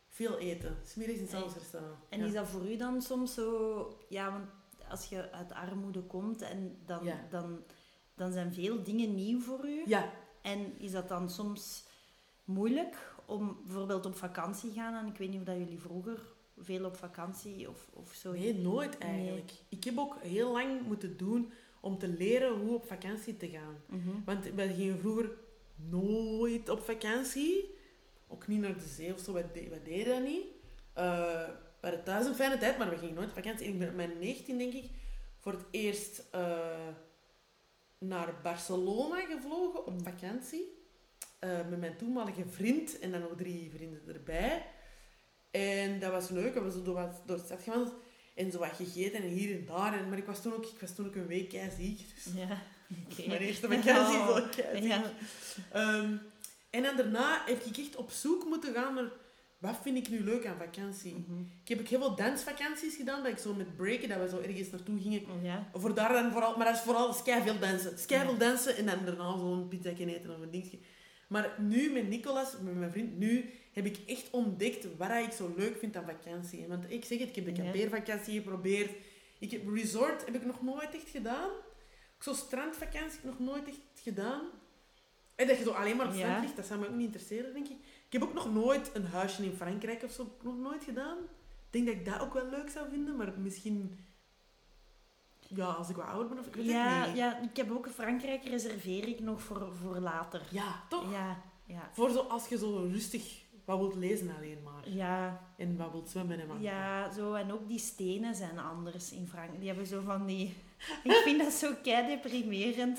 [SPEAKER 2] veel eten. Smiddags in hetzelfde restaurant.
[SPEAKER 1] En
[SPEAKER 2] Ja.
[SPEAKER 1] is dat voor u dan soms zo... Ja, want als je uit armoede komt, en dan,
[SPEAKER 2] Ja.
[SPEAKER 1] dan, dan zijn veel dingen nieuw voor u.
[SPEAKER 2] Ja,
[SPEAKER 1] En is dat dan soms moeilijk om bijvoorbeeld op vakantie gaan? En ik weet niet of dat jullie vroeger veel op vakantie of, of zo...
[SPEAKER 2] Nee, nooit eigenlijk. Ik heb ook heel lang moeten doen om te leren hoe op vakantie te gaan.
[SPEAKER 1] Mhm.
[SPEAKER 2] Want wij gingen vroeger nooit op vakantie. Ook niet naar de zee of zo, wij, de- wij deden dat niet. Eh, we hadden thuis een fijne tijd, maar we gingen nooit op vakantie. En ik ben op mijn 19, denk ik, voor het eerst eh, naar Barcelona gevlogen op vakantie. Eh, met mijn toenmalige vriend en dan nog drie vrienden erbij. En dat was leuk, we hebben zo door, wat, door de stad gewandeld en zo wat gegeten en hier en daar. En, maar ik was toen ook, ik was toen ook een week keiziek. Dus
[SPEAKER 1] Ja, oké.
[SPEAKER 2] mijn eerste vakantie
[SPEAKER 1] Oh.
[SPEAKER 2] voor keiziek.
[SPEAKER 1] Ja.
[SPEAKER 2] Ehm, en dan daarna heb ik echt op zoek moeten gaan naar wat vind ik nu leuk aan vakantie.
[SPEAKER 1] Mhm.
[SPEAKER 2] Ik heb ook heel veel dansvakanties gedaan, dat ik zo met breken, dat we zo ergens naartoe gingen.
[SPEAKER 1] Ja.
[SPEAKER 2] Voor daar dan vooral, maar dat is vooral veel dansen. veel dansen en dan daarna zo'n pizza eten of een dingetje. Maar nu met Nicolas, met mijn vriend, nu heb ik echt ontdekt wat ik zo leuk vind aan vakantie. Want ik zeg het, ik heb de
[SPEAKER 1] Ja.
[SPEAKER 2] kampeervakantie geprobeerd. Ik heb resort heb ik nog nooit echt gedaan. Ook zo'n strandvakantie heb ik nog nooit echt gedaan. En dat je zo alleen maar op strand
[SPEAKER 1] Ja.
[SPEAKER 2] ligt, dat zou me ook niet interesseren, denk ik. Ik heb ook nog nooit een huisje in Frankrijk of zo nog nooit gedaan. Ik denk dat ik dat ook wel leuk zou vinden, maar misschien... Ja, als ik wat ouder ben of ik weet
[SPEAKER 1] Ja,
[SPEAKER 2] het niet.
[SPEAKER 1] ja, ik heb ook Frankrijk reserveer ik nog voor, voor later.
[SPEAKER 2] Ja, toch?
[SPEAKER 1] Ja, ja.
[SPEAKER 2] Voor zo, als je zo rustig wat wilt lezen alleen maar.
[SPEAKER 1] Ja,
[SPEAKER 2] En wat wilt zwemmen en wat.
[SPEAKER 1] ja, zo. En ook die stenen zijn anders in Frankrijk. Die hebben zo van die... Ik vind dat zo kei deprimerend.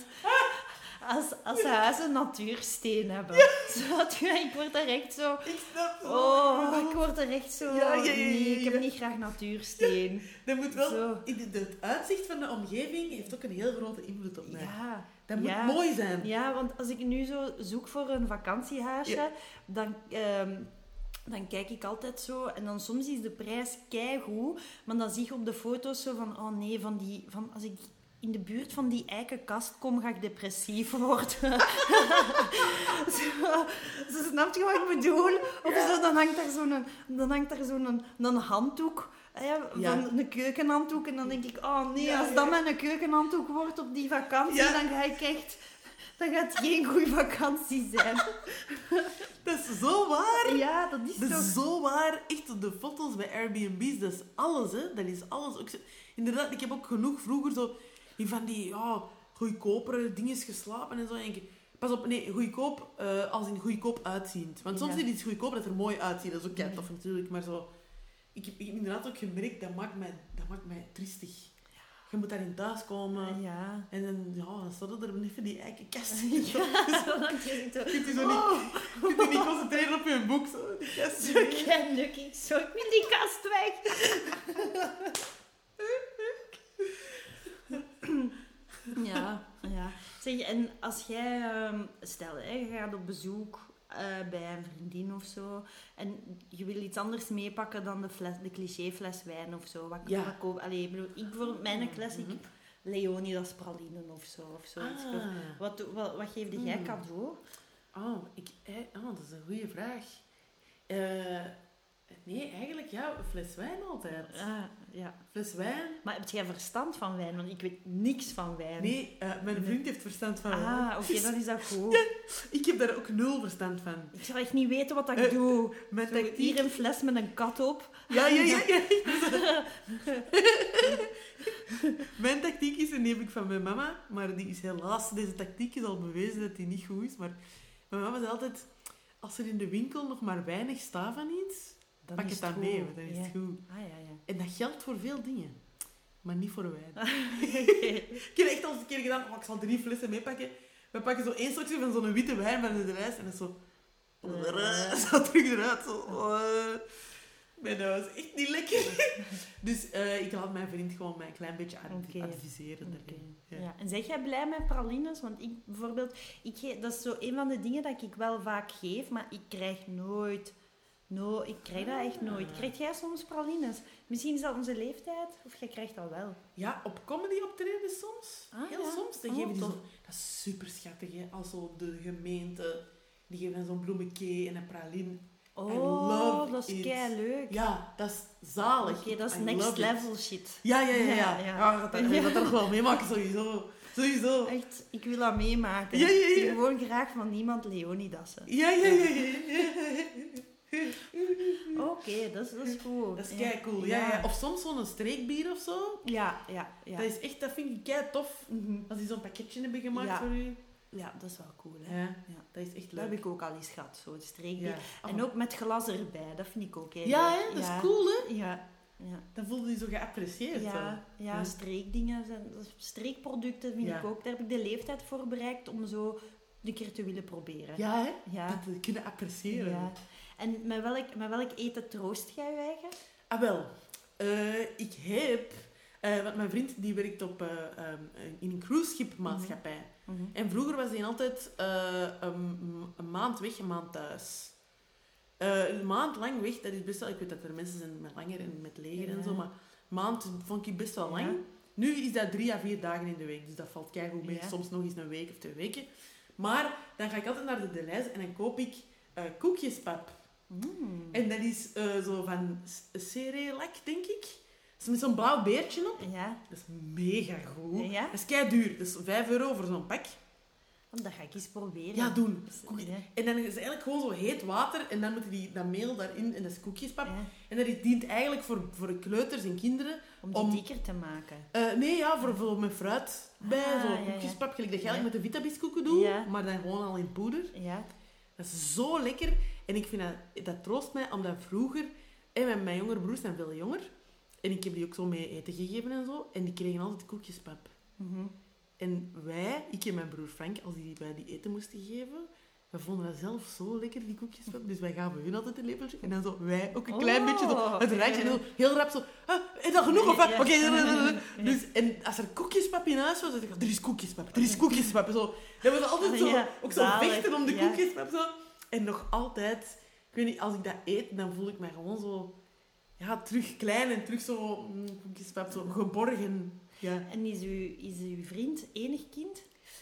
[SPEAKER 1] Als, als ze huizen natuursteen hebben. Zodat je- ik word er echt zo...
[SPEAKER 2] Ik snap het.
[SPEAKER 1] Oh, ik word er echt zo...
[SPEAKER 2] Ja, ja, ja, ja,
[SPEAKER 1] Nee, ik
[SPEAKER 2] ja.
[SPEAKER 1] heb niet graag natuursteen.
[SPEAKER 2] Dat moet wel...
[SPEAKER 1] Zo.
[SPEAKER 2] in de- Het uitzicht van de omgeving heeft ook een heel grote invloed op mij.
[SPEAKER 1] Ja.
[SPEAKER 2] Dat moet
[SPEAKER 1] ja.
[SPEAKER 2] mooi zijn.
[SPEAKER 1] Ja, want als ik nu zo zoek voor een vakantiehuisje,
[SPEAKER 2] Ja.
[SPEAKER 1] dan, ehm, dan kijk ik altijd zo. En dan soms is de prijs keigoed, maar dan zie ik op de foto's zo van, oh nee, van die, van, als ik in de buurt van die eikenkast kom, ga ik depressief worden. zo, ze snapt je wat ik bedoel? Of zo, dan hangt daar zo'n dan hangt daar zo'n een, een handdoek. Hè,
[SPEAKER 2] Ja.
[SPEAKER 1] Van een keukenhanddoek. En dan denk ik, oh nee,
[SPEAKER 2] Ja,
[SPEAKER 1] als
[SPEAKER 2] ja,
[SPEAKER 1] dat
[SPEAKER 2] ja.
[SPEAKER 1] mijn keukenhanddoek wordt op die vakantie,
[SPEAKER 2] Ja.
[SPEAKER 1] dan ga ik echt dat gaat geen goede vakantie zijn.
[SPEAKER 2] Dat is zo waar.
[SPEAKER 1] Ja, dat is
[SPEAKER 2] Dat
[SPEAKER 1] toch...
[SPEAKER 2] is zo waar. Dus Echt, de foto's bij Airbnb's, dat is alles, hè. Dat is alles. Ook, zo- inderdaad, ik heb ook genoeg vroeger zo in van die ja, goedkopere dingen geslapen en zo. En ik, pas op, nee, goedkoop eh, als in goedkoop uitziend. Want soms
[SPEAKER 1] Ja.
[SPEAKER 2] is iets goedkoop dat er mooi uitziet. Dat is ook kei tof natuurlijk, maar zo... Ik heb ik heb inderdaad ook gemerkt, dat maakt mij, dat maakt mij triestig. Je moet daarin thuiskomen.
[SPEAKER 1] Ah, Ja.
[SPEAKER 2] En dan, ja, dan staat er even die eikenkast. Je kunt je zo niet,
[SPEAKER 1] Oh,
[SPEAKER 2] je kunt je niet concentreren op je boek. Zo, die kast.
[SPEAKER 1] zo kennelijk. Ik zo, ik wil die kast weg. Ja, ja. Zeg, en als jij... ehm, Stel, hè, je gaat op bezoek eh, bij een vriendin of zo. En je wil iets anders meepakken dan de, fles, de clichéfles wijn of zo. Wat,
[SPEAKER 2] Ja.
[SPEAKER 1] wat koop... Allee, ik bedoel, ik voor mijn klas, ik Leonidas pralinen of zo. Of zoiets.
[SPEAKER 2] Ah.
[SPEAKER 1] Wat, doe- wat, wat geefde jij
[SPEAKER 2] Hmm.
[SPEAKER 1] cadeau?
[SPEAKER 2] Oh, ik, eh, oh, dat is een goede vraag. Eh, nee, eigenlijk ja, een fles wijn altijd.
[SPEAKER 1] Ah, ja.
[SPEAKER 2] Fles wijn.
[SPEAKER 1] Maar heb jij verstand van wijn? Want ik weet niks van wijn.
[SPEAKER 2] Nee, eh, mijn vriend heeft verstand van wijn.
[SPEAKER 1] Ah, oké, dan is dat goed.
[SPEAKER 2] Ik heb daar ook nul verstand van.
[SPEAKER 1] Ik zou echt niet weten wat ik
[SPEAKER 2] Eh,
[SPEAKER 1] doe.
[SPEAKER 2] Mijn
[SPEAKER 1] Zo, hier
[SPEAKER 2] tactiek...
[SPEAKER 1] een fles met een kat op.
[SPEAKER 2] Ja, ja, ja. ja. mijn tactiek is, en die heb ik van mijn mama, maar die is helaas... Deze tactiek is al bewezen dat die niet goed is, maar... Mijn mama zei altijd, als er in de winkel nog maar weinig staat van iets,
[SPEAKER 1] Dan
[SPEAKER 2] pak
[SPEAKER 1] is
[SPEAKER 2] het dan
[SPEAKER 1] goed.
[SPEAKER 2] mee, want dan is
[SPEAKER 1] Ja.
[SPEAKER 2] het goed.
[SPEAKER 1] Ah, ja, ja.
[SPEAKER 2] En dat geldt voor veel dingen. Maar niet voor wijn.
[SPEAKER 1] Oké.
[SPEAKER 2] Ik heb echt al eens een keer gedaan, oh, ik zal drie flessen meepakken. We pakken zo één slokje van zo'n witte wijn van de lijst en dat is zo...
[SPEAKER 1] Eh.
[SPEAKER 2] Zo terug eruit, zo... eh. Maar dat was echt niet lekker. Dus eh, ik laat mijn vriend gewoon mij een klein beetje adv-
[SPEAKER 1] Oké.
[SPEAKER 2] adviseren. daarin.
[SPEAKER 1] Oké.
[SPEAKER 2] Ja.
[SPEAKER 1] Ja. En zeg jij blij met pralines? Want ik bijvoorbeeld, ik ge- dat is zo een van de dingen dat ik wel vaak geef, maar ik krijg nooit, no, ik krijg dat echt nooit.
[SPEAKER 2] Ah.
[SPEAKER 1] Krijg jij soms pralines? Misschien is dat onze leeftijd, of jij krijgt dat wel.
[SPEAKER 2] Ja, op comedy optreden soms.
[SPEAKER 1] Ah,
[SPEAKER 2] Heel
[SPEAKER 1] ja.
[SPEAKER 2] soms. Dan
[SPEAKER 1] Oh,
[SPEAKER 2] geven die
[SPEAKER 1] tof.
[SPEAKER 2] zo, dat is super schattig, hè. Als zo de gemeente... Die geven dan zo'n bloemenkee en een praline.
[SPEAKER 1] Oh,
[SPEAKER 2] love
[SPEAKER 1] dat is
[SPEAKER 2] it.
[SPEAKER 1] kei leuk.
[SPEAKER 2] Ja, dat is zalig.
[SPEAKER 1] Oké, dat is
[SPEAKER 2] I
[SPEAKER 1] next
[SPEAKER 2] love it.
[SPEAKER 1] level shit.
[SPEAKER 2] Ja, ja, Ah, ja.
[SPEAKER 1] Ja,
[SPEAKER 2] ja.
[SPEAKER 1] ja.
[SPEAKER 2] ja. dat, dat, dat er gewoon meemaken, sowieso. Sowieso.
[SPEAKER 1] Echt, ik wil dat meemaken.
[SPEAKER 2] Ja, ja, ja.
[SPEAKER 1] Ik wil gewoon graag van niemand Leonidassen.
[SPEAKER 2] Ja, ja, ja, ja. ja.
[SPEAKER 1] Oké, dat, is, dat is goed.
[SPEAKER 2] Dat is
[SPEAKER 1] Ja.
[SPEAKER 2] kei cool. Ja, ja. Of soms zo'n streekbier of zo.
[SPEAKER 1] Ja, ja, ja.
[SPEAKER 2] Dat, is echt, dat vind ik kei tof.
[SPEAKER 1] Mhm.
[SPEAKER 2] Als die zo'n pakketje hebben gemaakt
[SPEAKER 1] Ja.
[SPEAKER 2] voor u.
[SPEAKER 1] Ja, dat is wel cool. Hè?
[SPEAKER 2] Ja,
[SPEAKER 1] Ja.
[SPEAKER 2] dat is echt
[SPEAKER 1] Dat heb
[SPEAKER 2] leuk.
[SPEAKER 1] ik ook al eens gehad, zo'n streekbier.
[SPEAKER 2] Ja.
[SPEAKER 1] En ook met glas erbij, dat vind ik ook heel
[SPEAKER 2] ja,
[SPEAKER 1] leuk.
[SPEAKER 2] hè, dat is cool, hè.
[SPEAKER 1] Ja, ja.
[SPEAKER 2] Dan voelde je zo geapprecieerd.
[SPEAKER 1] Ja, ja,
[SPEAKER 2] Ja.
[SPEAKER 1] streekdingen, zijn- streekproducten vind
[SPEAKER 2] Ja.
[SPEAKER 1] ik ook. Daar heb ik de leeftijd voor bereikt om zo een keer te willen
[SPEAKER 2] Zo.
[SPEAKER 1] proberen.
[SPEAKER 2] Ja, hè.
[SPEAKER 1] ja.
[SPEAKER 2] Dat te kunnen appreciëren.
[SPEAKER 1] Ja. En met welk, met welk eten troost jij je eigen?
[SPEAKER 2] Ah, wel. Eh, ik heb... eh, want mijn vriend die werkt op, eh, ehm, in een cruiseschipmaatschappij. En vroeger was hij altijd eh, een, een maand weg, een maand thuis. Eh, een maand lang weg, dat is best wel... Ik weet dat er mensen zijn met langer en met leger en
[SPEAKER 1] Ja.
[SPEAKER 2] zo, maar een maand vond ik best wel lang.
[SPEAKER 1] Ja.
[SPEAKER 2] Nu is dat drie à vier dagen in de week, dus dat valt keigoed mee.
[SPEAKER 1] Ja.
[SPEAKER 2] Soms nog eens een week of twee weken. Maar dan ga ik altijd naar de Deleuze en dan koop ik eh, koekjespap.
[SPEAKER 1] Mm.
[SPEAKER 2] En dat is eh, zo van s- cerelac, denk ik. Dat is met zo'n blauw beertje op.
[SPEAKER 1] Ja,
[SPEAKER 2] Dat is mega goed.
[SPEAKER 1] Ja?
[SPEAKER 2] Dat is kei duur. Dat is 5 euro voor zo'n pak.
[SPEAKER 1] want dat ga ik eens proberen.
[SPEAKER 2] Ja, doen. Koek-
[SPEAKER 1] Ja.
[SPEAKER 2] En dan is het eigenlijk gewoon zo heet water. En dan moet je die, dat meel daarin en dat is koekjespap.
[SPEAKER 1] Ja,
[SPEAKER 2] En dat dient eigenlijk voor, voor kleuters en kinderen.
[SPEAKER 1] om die
[SPEAKER 2] Om-
[SPEAKER 1] dikker te maken.
[SPEAKER 2] Eh, nee, ja, voor, voor met fruit bij.
[SPEAKER 1] Ah, ja,
[SPEAKER 2] zo'n
[SPEAKER 1] ja.
[SPEAKER 2] koekjespap. Gelijk dat je
[SPEAKER 1] Ja.
[SPEAKER 2] eigenlijk met de vitabiskoeken doet.
[SPEAKER 1] Ja.
[SPEAKER 2] Maar dan gewoon al in poeder.
[SPEAKER 1] Ja,
[SPEAKER 2] Dat is zo lekker. En ik vind dat, dat troost mij, omdat vroeger... En mijn, mijn jongere broers zijn veel jonger. En ik heb die ook zo mee eten gegeven en zo. En die kregen altijd koekjespap.
[SPEAKER 1] Mhm.
[SPEAKER 2] En wij, ik en mijn broer Frank, als die wij die eten moesten geven, we vonden dat zelf zo lekker, die koekjes. wel. Dus wij gaven hun altijd een lepeltje. En dan zo wij ook een klein
[SPEAKER 1] Mm. Oh,
[SPEAKER 2] beetje zo het
[SPEAKER 1] ja.
[SPEAKER 2] rijtje. En zo heel rap zo, ah, is dat genoeg? Of wat?
[SPEAKER 1] Ja.
[SPEAKER 2] Oké.
[SPEAKER 1] Ja.
[SPEAKER 2] Dus, en als er koekjespap in huis was, dan dacht ik, "Ah, er is koekjespap, er is koekjespap. Zo, dat was altijd zo,
[SPEAKER 1] Ja,
[SPEAKER 2] ook zo
[SPEAKER 1] zalig,
[SPEAKER 2] vechten om de
[SPEAKER 1] ja.
[SPEAKER 2] koekjespap. Zo. En nog altijd, ik weet niet, als ik dat eet, dan voel ik mij gewoon zo, ja, terug klein en terug zo, mm, koekjespap, zo geborgen. Ja.
[SPEAKER 1] En is uw, is uw vriend enig kind?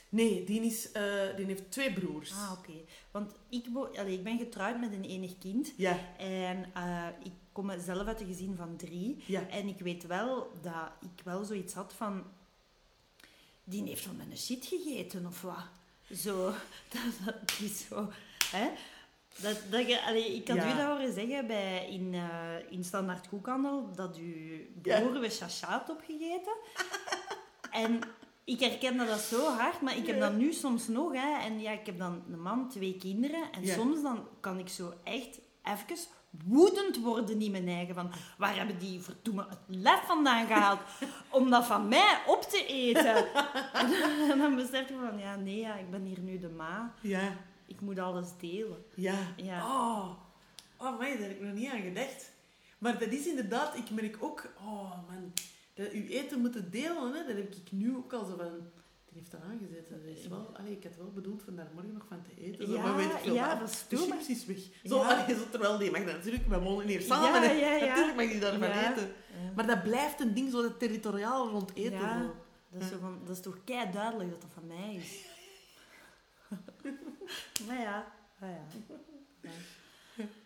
[SPEAKER 2] Nee, die, is, eh, die heeft twee broers.
[SPEAKER 1] Ah, oké. Want ik, wo- allee, ik ben getrouwd met een enig kind.
[SPEAKER 2] Ja,
[SPEAKER 1] En eh, ik kom zelf uit een gezin van drie.
[SPEAKER 2] ja.
[SPEAKER 1] En ik weet wel dat ik wel zoiets had van... Die heeft van mijn shit gegeten, of wat? Zo. Dat, dat is zo... Hè? Dat, dat je, allee, ik had
[SPEAKER 2] Ja.
[SPEAKER 1] u dat horen zeggen bij, in, eh, in Standaard Koekhandel, dat uw
[SPEAKER 2] Ja.
[SPEAKER 1] broer weer chacha had opgegeten. en ik herkende dat zo hard, maar ik heb
[SPEAKER 2] Ja.
[SPEAKER 1] dat nu soms nog. Hè, en ja, ik heb dan een man, twee kinderen. En
[SPEAKER 2] Ja.
[SPEAKER 1] soms dan kan ik zo echt even woedend worden in mijn eigen. Van, waar hebben die verdoemen het lef vandaan gehaald om dat van mij op te eten? en, dan, en dan besef je van, ja, nee, ja, ik ben hier nu de ma.
[SPEAKER 2] Ja,
[SPEAKER 1] Ik moet alles delen.
[SPEAKER 2] ja.
[SPEAKER 1] Ja.
[SPEAKER 2] Oh, oh man, daar heb ik nog niet aan gedacht. Maar dat is inderdaad, ik merk ook, oh man, dat u eten moeten delen, hè, dat heb ik nu ook al zo van. Die heeft dat aangezet. Dat is wel, allee, ik had wel bedoeld van daar morgen nog van te eten. Zo,
[SPEAKER 1] Ja,
[SPEAKER 2] maar weet ik veel
[SPEAKER 1] ja,
[SPEAKER 2] wat.
[SPEAKER 1] dat is
[SPEAKER 2] De
[SPEAKER 1] doe
[SPEAKER 2] chips is weg. Zo,
[SPEAKER 1] Ja.
[SPEAKER 2] allee, zo, terwijl die mag dat natuurlijk, wij wonen hier samen.
[SPEAKER 1] Ja,
[SPEAKER 2] hè.
[SPEAKER 1] ja, ja.
[SPEAKER 2] Natuurlijk mag die daarvan
[SPEAKER 1] Ja.
[SPEAKER 2] eten.
[SPEAKER 1] Ja.
[SPEAKER 2] Maar dat blijft een ding, zo dat territoriaal rond eten.
[SPEAKER 1] Ja,
[SPEAKER 2] zo.
[SPEAKER 1] dat, is zo van, dat is toch kei duidelijk dat dat van mij is. maar ja, maar ja. Ja,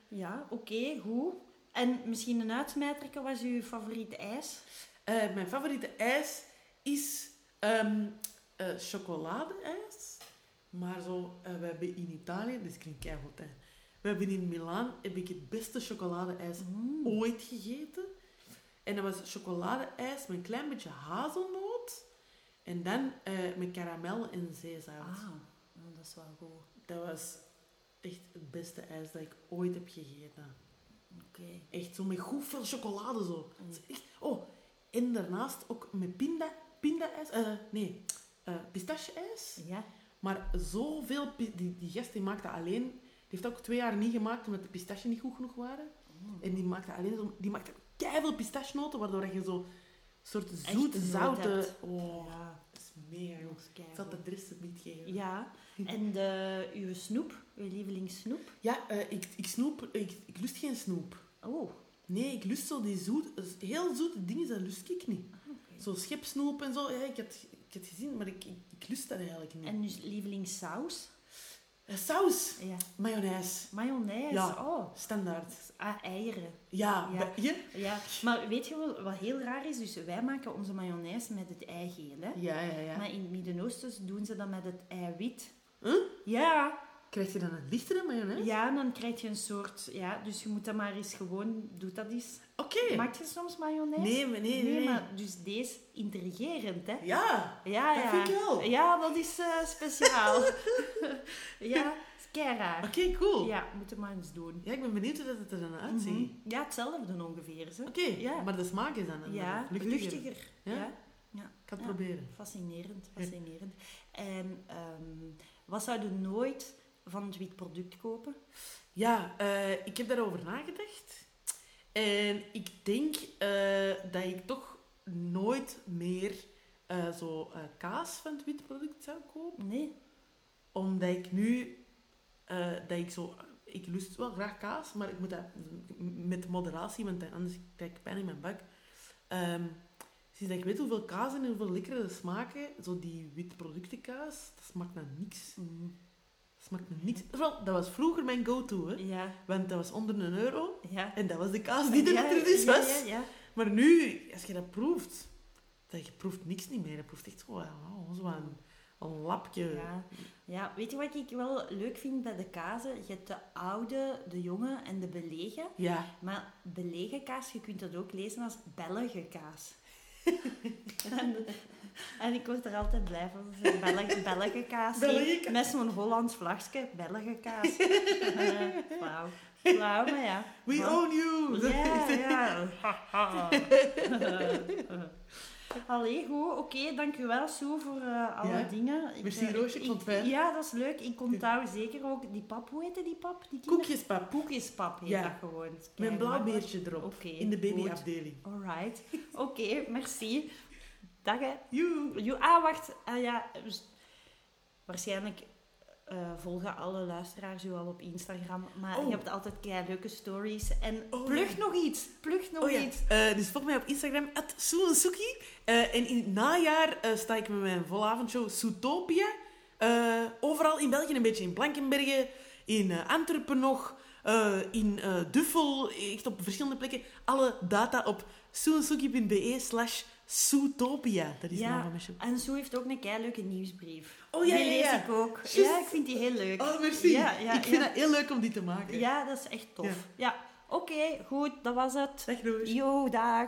[SPEAKER 1] Ja, oké, goed. En misschien een uitsmijter, was uw favoriete ijs?
[SPEAKER 2] Eh, mijn favoriete ijs is ehm eh chocoladeijs. Maar zo, eh, we hebben in Italië, dit klinkt keihard hè. We hebben in Milaan heb ik het beste chocoladeijs
[SPEAKER 1] Mm.
[SPEAKER 2] ooit gegeten. En dat was chocoladeijs met een klein beetje hazelnoot. En dan eh, met karamel en zeezout.
[SPEAKER 1] Ah, nou, dat is wel goed.
[SPEAKER 2] Dat was echt het beste ijs dat ik ooit heb gegeten.
[SPEAKER 1] Oké.
[SPEAKER 2] Echt zo met goed veel chocolade zo. Dat is echt- oh, en daarnaast ook met pinda, pinda-ijs. eh, nee, eh pistache-ijs.
[SPEAKER 1] Ja?
[SPEAKER 2] Maar zoveel... pi- Die, die gast die maakte alleen... Die heeft dat ook twee jaar niet gemaakt omdat de pistache niet goed genoeg waren. En die maakte alleen... zo- Die maakte keiveel pistachenoten, waardoor dat je zo... soort zoet,
[SPEAKER 1] noot
[SPEAKER 2] zoute...
[SPEAKER 1] hebt.
[SPEAKER 2] Oh,
[SPEAKER 1] Ja,
[SPEAKER 2] dat is mega goed.
[SPEAKER 1] dat is
[SPEAKER 2] Ik zal
[SPEAKER 1] keigoed.
[SPEAKER 2] de adres niet geven.
[SPEAKER 1] Ja, en de, uw snoep, uw lievelingssnoep?
[SPEAKER 2] Ja, eh, ik, ik snoep... Ik, ik lust geen snoep.
[SPEAKER 1] Oh,
[SPEAKER 2] Nee, ik lust zo die zoet... Heel zoete dingen, dat lust ik niet.
[SPEAKER 1] Ah, oké.
[SPEAKER 2] Zo schepsnoep en zo. Ja, ik had, ik had gezien, maar ik, ik, ik lust dat eigenlijk niet.
[SPEAKER 1] En uw lievelingssaus?
[SPEAKER 2] Eh, saus.
[SPEAKER 1] Ja.
[SPEAKER 2] Mayonaise.
[SPEAKER 1] Mayonaise?
[SPEAKER 2] Ja.
[SPEAKER 1] Oh.
[SPEAKER 2] Standaard.
[SPEAKER 1] Ah, eieren.
[SPEAKER 2] Ja.
[SPEAKER 1] Ja.
[SPEAKER 2] bij- Hier?
[SPEAKER 1] Ja, maar weet je wel, wat heel raar is? Dus wij maken onze mayonaise met het eigeel, hè?
[SPEAKER 2] Ja, ja, ja.
[SPEAKER 1] Maar in het Midden-Oosten doen ze dat met het eiwit.
[SPEAKER 2] Huh?
[SPEAKER 1] Ja,
[SPEAKER 2] Krijg je dan een lichtere mayonaise?
[SPEAKER 1] ja, en dan krijg je een soort... Ja, dus je moet dat maar eens gewoon... Doe dat eens.
[SPEAKER 2] Oké.
[SPEAKER 1] Maak je soms mayonaise?
[SPEAKER 2] Nee, maar nee, nee. nee.
[SPEAKER 1] maar dus deze intrigerend, hè?
[SPEAKER 2] Ja.
[SPEAKER 1] Ja,
[SPEAKER 2] Dat
[SPEAKER 1] ja.
[SPEAKER 2] vind ik wel.
[SPEAKER 1] Ja, dat is eh, speciaal. ja, dat is kei raar.
[SPEAKER 2] Oké, cool. Ja.
[SPEAKER 1] Ja, moeten we maar eens doen.
[SPEAKER 2] ik ben benieuwd hoe dat het er dan uitziet.
[SPEAKER 1] Mhm. Ja, hetzelfde ongeveer, hè?
[SPEAKER 2] Oké,
[SPEAKER 1] Ja.
[SPEAKER 2] maar de smaak is dan anders.
[SPEAKER 1] Ja,
[SPEAKER 2] Luchtiger.
[SPEAKER 1] luchtiger.
[SPEAKER 2] Ja?
[SPEAKER 1] ja.
[SPEAKER 2] Ik ga het
[SPEAKER 1] Ja.
[SPEAKER 2] proberen.
[SPEAKER 1] Fascinerend, fascinerend. En ehm, wat zou je nooit van het wit product kopen?
[SPEAKER 2] Ja, eh, ik heb daarover nagedacht. En ik denk eh, dat ik toch nooit meer eh, zo eh, kaas van het wit product zou kopen.
[SPEAKER 1] Nee?
[SPEAKER 2] Omdat ik nu... eh, dat ik zo... Ik lust wel graag kaas, maar ik moet dat met moderatie, want anders krijg ik pijn in mijn buik. Ehm sinds dat ik weet hoeveel kaas en hoeveel lekkere smaken, zo die wit productenkaas, dat smaakt naar niks. Dat smaakt naar niks. Wel, Dat was vroeger mijn go-to, hè.
[SPEAKER 1] Ja,
[SPEAKER 2] Want dat was onder een euro.
[SPEAKER 1] ja.
[SPEAKER 2] En dat was de kaas die er
[SPEAKER 1] Ja,
[SPEAKER 2] er dus was.
[SPEAKER 1] Ja, ja, ja.
[SPEAKER 2] Maar nu, als je dat proeft, dat je proeft niks niet meer. Je proeft echt zo, oh, zo een, een lapje.
[SPEAKER 1] Ja. Ja, weet je wat ik wel leuk vind bij de kazen? Je hebt de oude, de jonge en de belegen.
[SPEAKER 2] Ja.
[SPEAKER 1] Maar belegen kaas, je kunt dat ook lezen als Belgische kaas. en, en ik word er altijd blij van. Dat is een Belg, Belgische kaas.
[SPEAKER 2] Belgische kaas.
[SPEAKER 1] Met zo'n Hollands vlagje, Belgische kaas. Wauw. Wauw, maar ja.
[SPEAKER 2] We
[SPEAKER 1] Voilà.
[SPEAKER 2] own you!
[SPEAKER 1] Ja, ja. Allee, goed. Oké, dankjewel Sue voor eh, alle
[SPEAKER 2] Ja.
[SPEAKER 1] dingen. Ik,
[SPEAKER 2] Merci,
[SPEAKER 1] eh,
[SPEAKER 2] Roosje, ik vond het fijn.
[SPEAKER 1] Ja, dat is leuk. Ik onthoud zeker ook die pap. Hoe heette die pap? Die kinder-
[SPEAKER 2] Koekjespap.
[SPEAKER 1] Koekjespap heet
[SPEAKER 2] Ja.
[SPEAKER 1] dat gewoon.
[SPEAKER 2] Met een blauw
[SPEAKER 1] Keimakkelijk.
[SPEAKER 2] beertje erop.
[SPEAKER 1] Oké,
[SPEAKER 2] in de
[SPEAKER 1] goed.
[SPEAKER 2] babyafdeling.
[SPEAKER 1] Alright. Oké, merci. Dag hè.
[SPEAKER 2] Joe.
[SPEAKER 1] Jo- Ah, wacht. Ah, ja. dus Waarschijnlijk eh, volgen alle luisteraars u al op Instagram. Maar
[SPEAKER 2] Oh.
[SPEAKER 1] je hebt altijd kei leuke stories. En
[SPEAKER 2] Oh,
[SPEAKER 1] plug
[SPEAKER 2] ja.
[SPEAKER 1] nog iets. Plug nog
[SPEAKER 2] Oh ja,
[SPEAKER 1] iets.
[SPEAKER 2] eh, dus volg mij op Instagram, at Eh, en in het najaar eh, sta ik met mijn volavondshow Zootopia. eh, overal in België, een beetje in Blankenbergen, in eh, Antwerpen nog, eh, in eh, Duffel, echt op verschillende plekken. Alle data op soensuki.be slash Zootopia. Dat is de
[SPEAKER 1] Ja.
[SPEAKER 2] naam van mijn show.
[SPEAKER 1] En Sue heeft ook een kei leuke nieuwsbrief.
[SPEAKER 2] Oh, ja,
[SPEAKER 1] Die
[SPEAKER 2] ja,
[SPEAKER 1] lees
[SPEAKER 2] ja.
[SPEAKER 1] ik ook.
[SPEAKER 2] Juist.
[SPEAKER 1] Ja, ik vind die heel leuk.
[SPEAKER 2] Oh, merci.
[SPEAKER 1] Ja, ja,
[SPEAKER 2] ik vind
[SPEAKER 1] ja.
[SPEAKER 2] dat heel leuk om die te maken.
[SPEAKER 1] Ja, dat is echt tof. Ja. Oké, goed. Dat was het.
[SPEAKER 2] Dag Roos.
[SPEAKER 1] Jo, dag.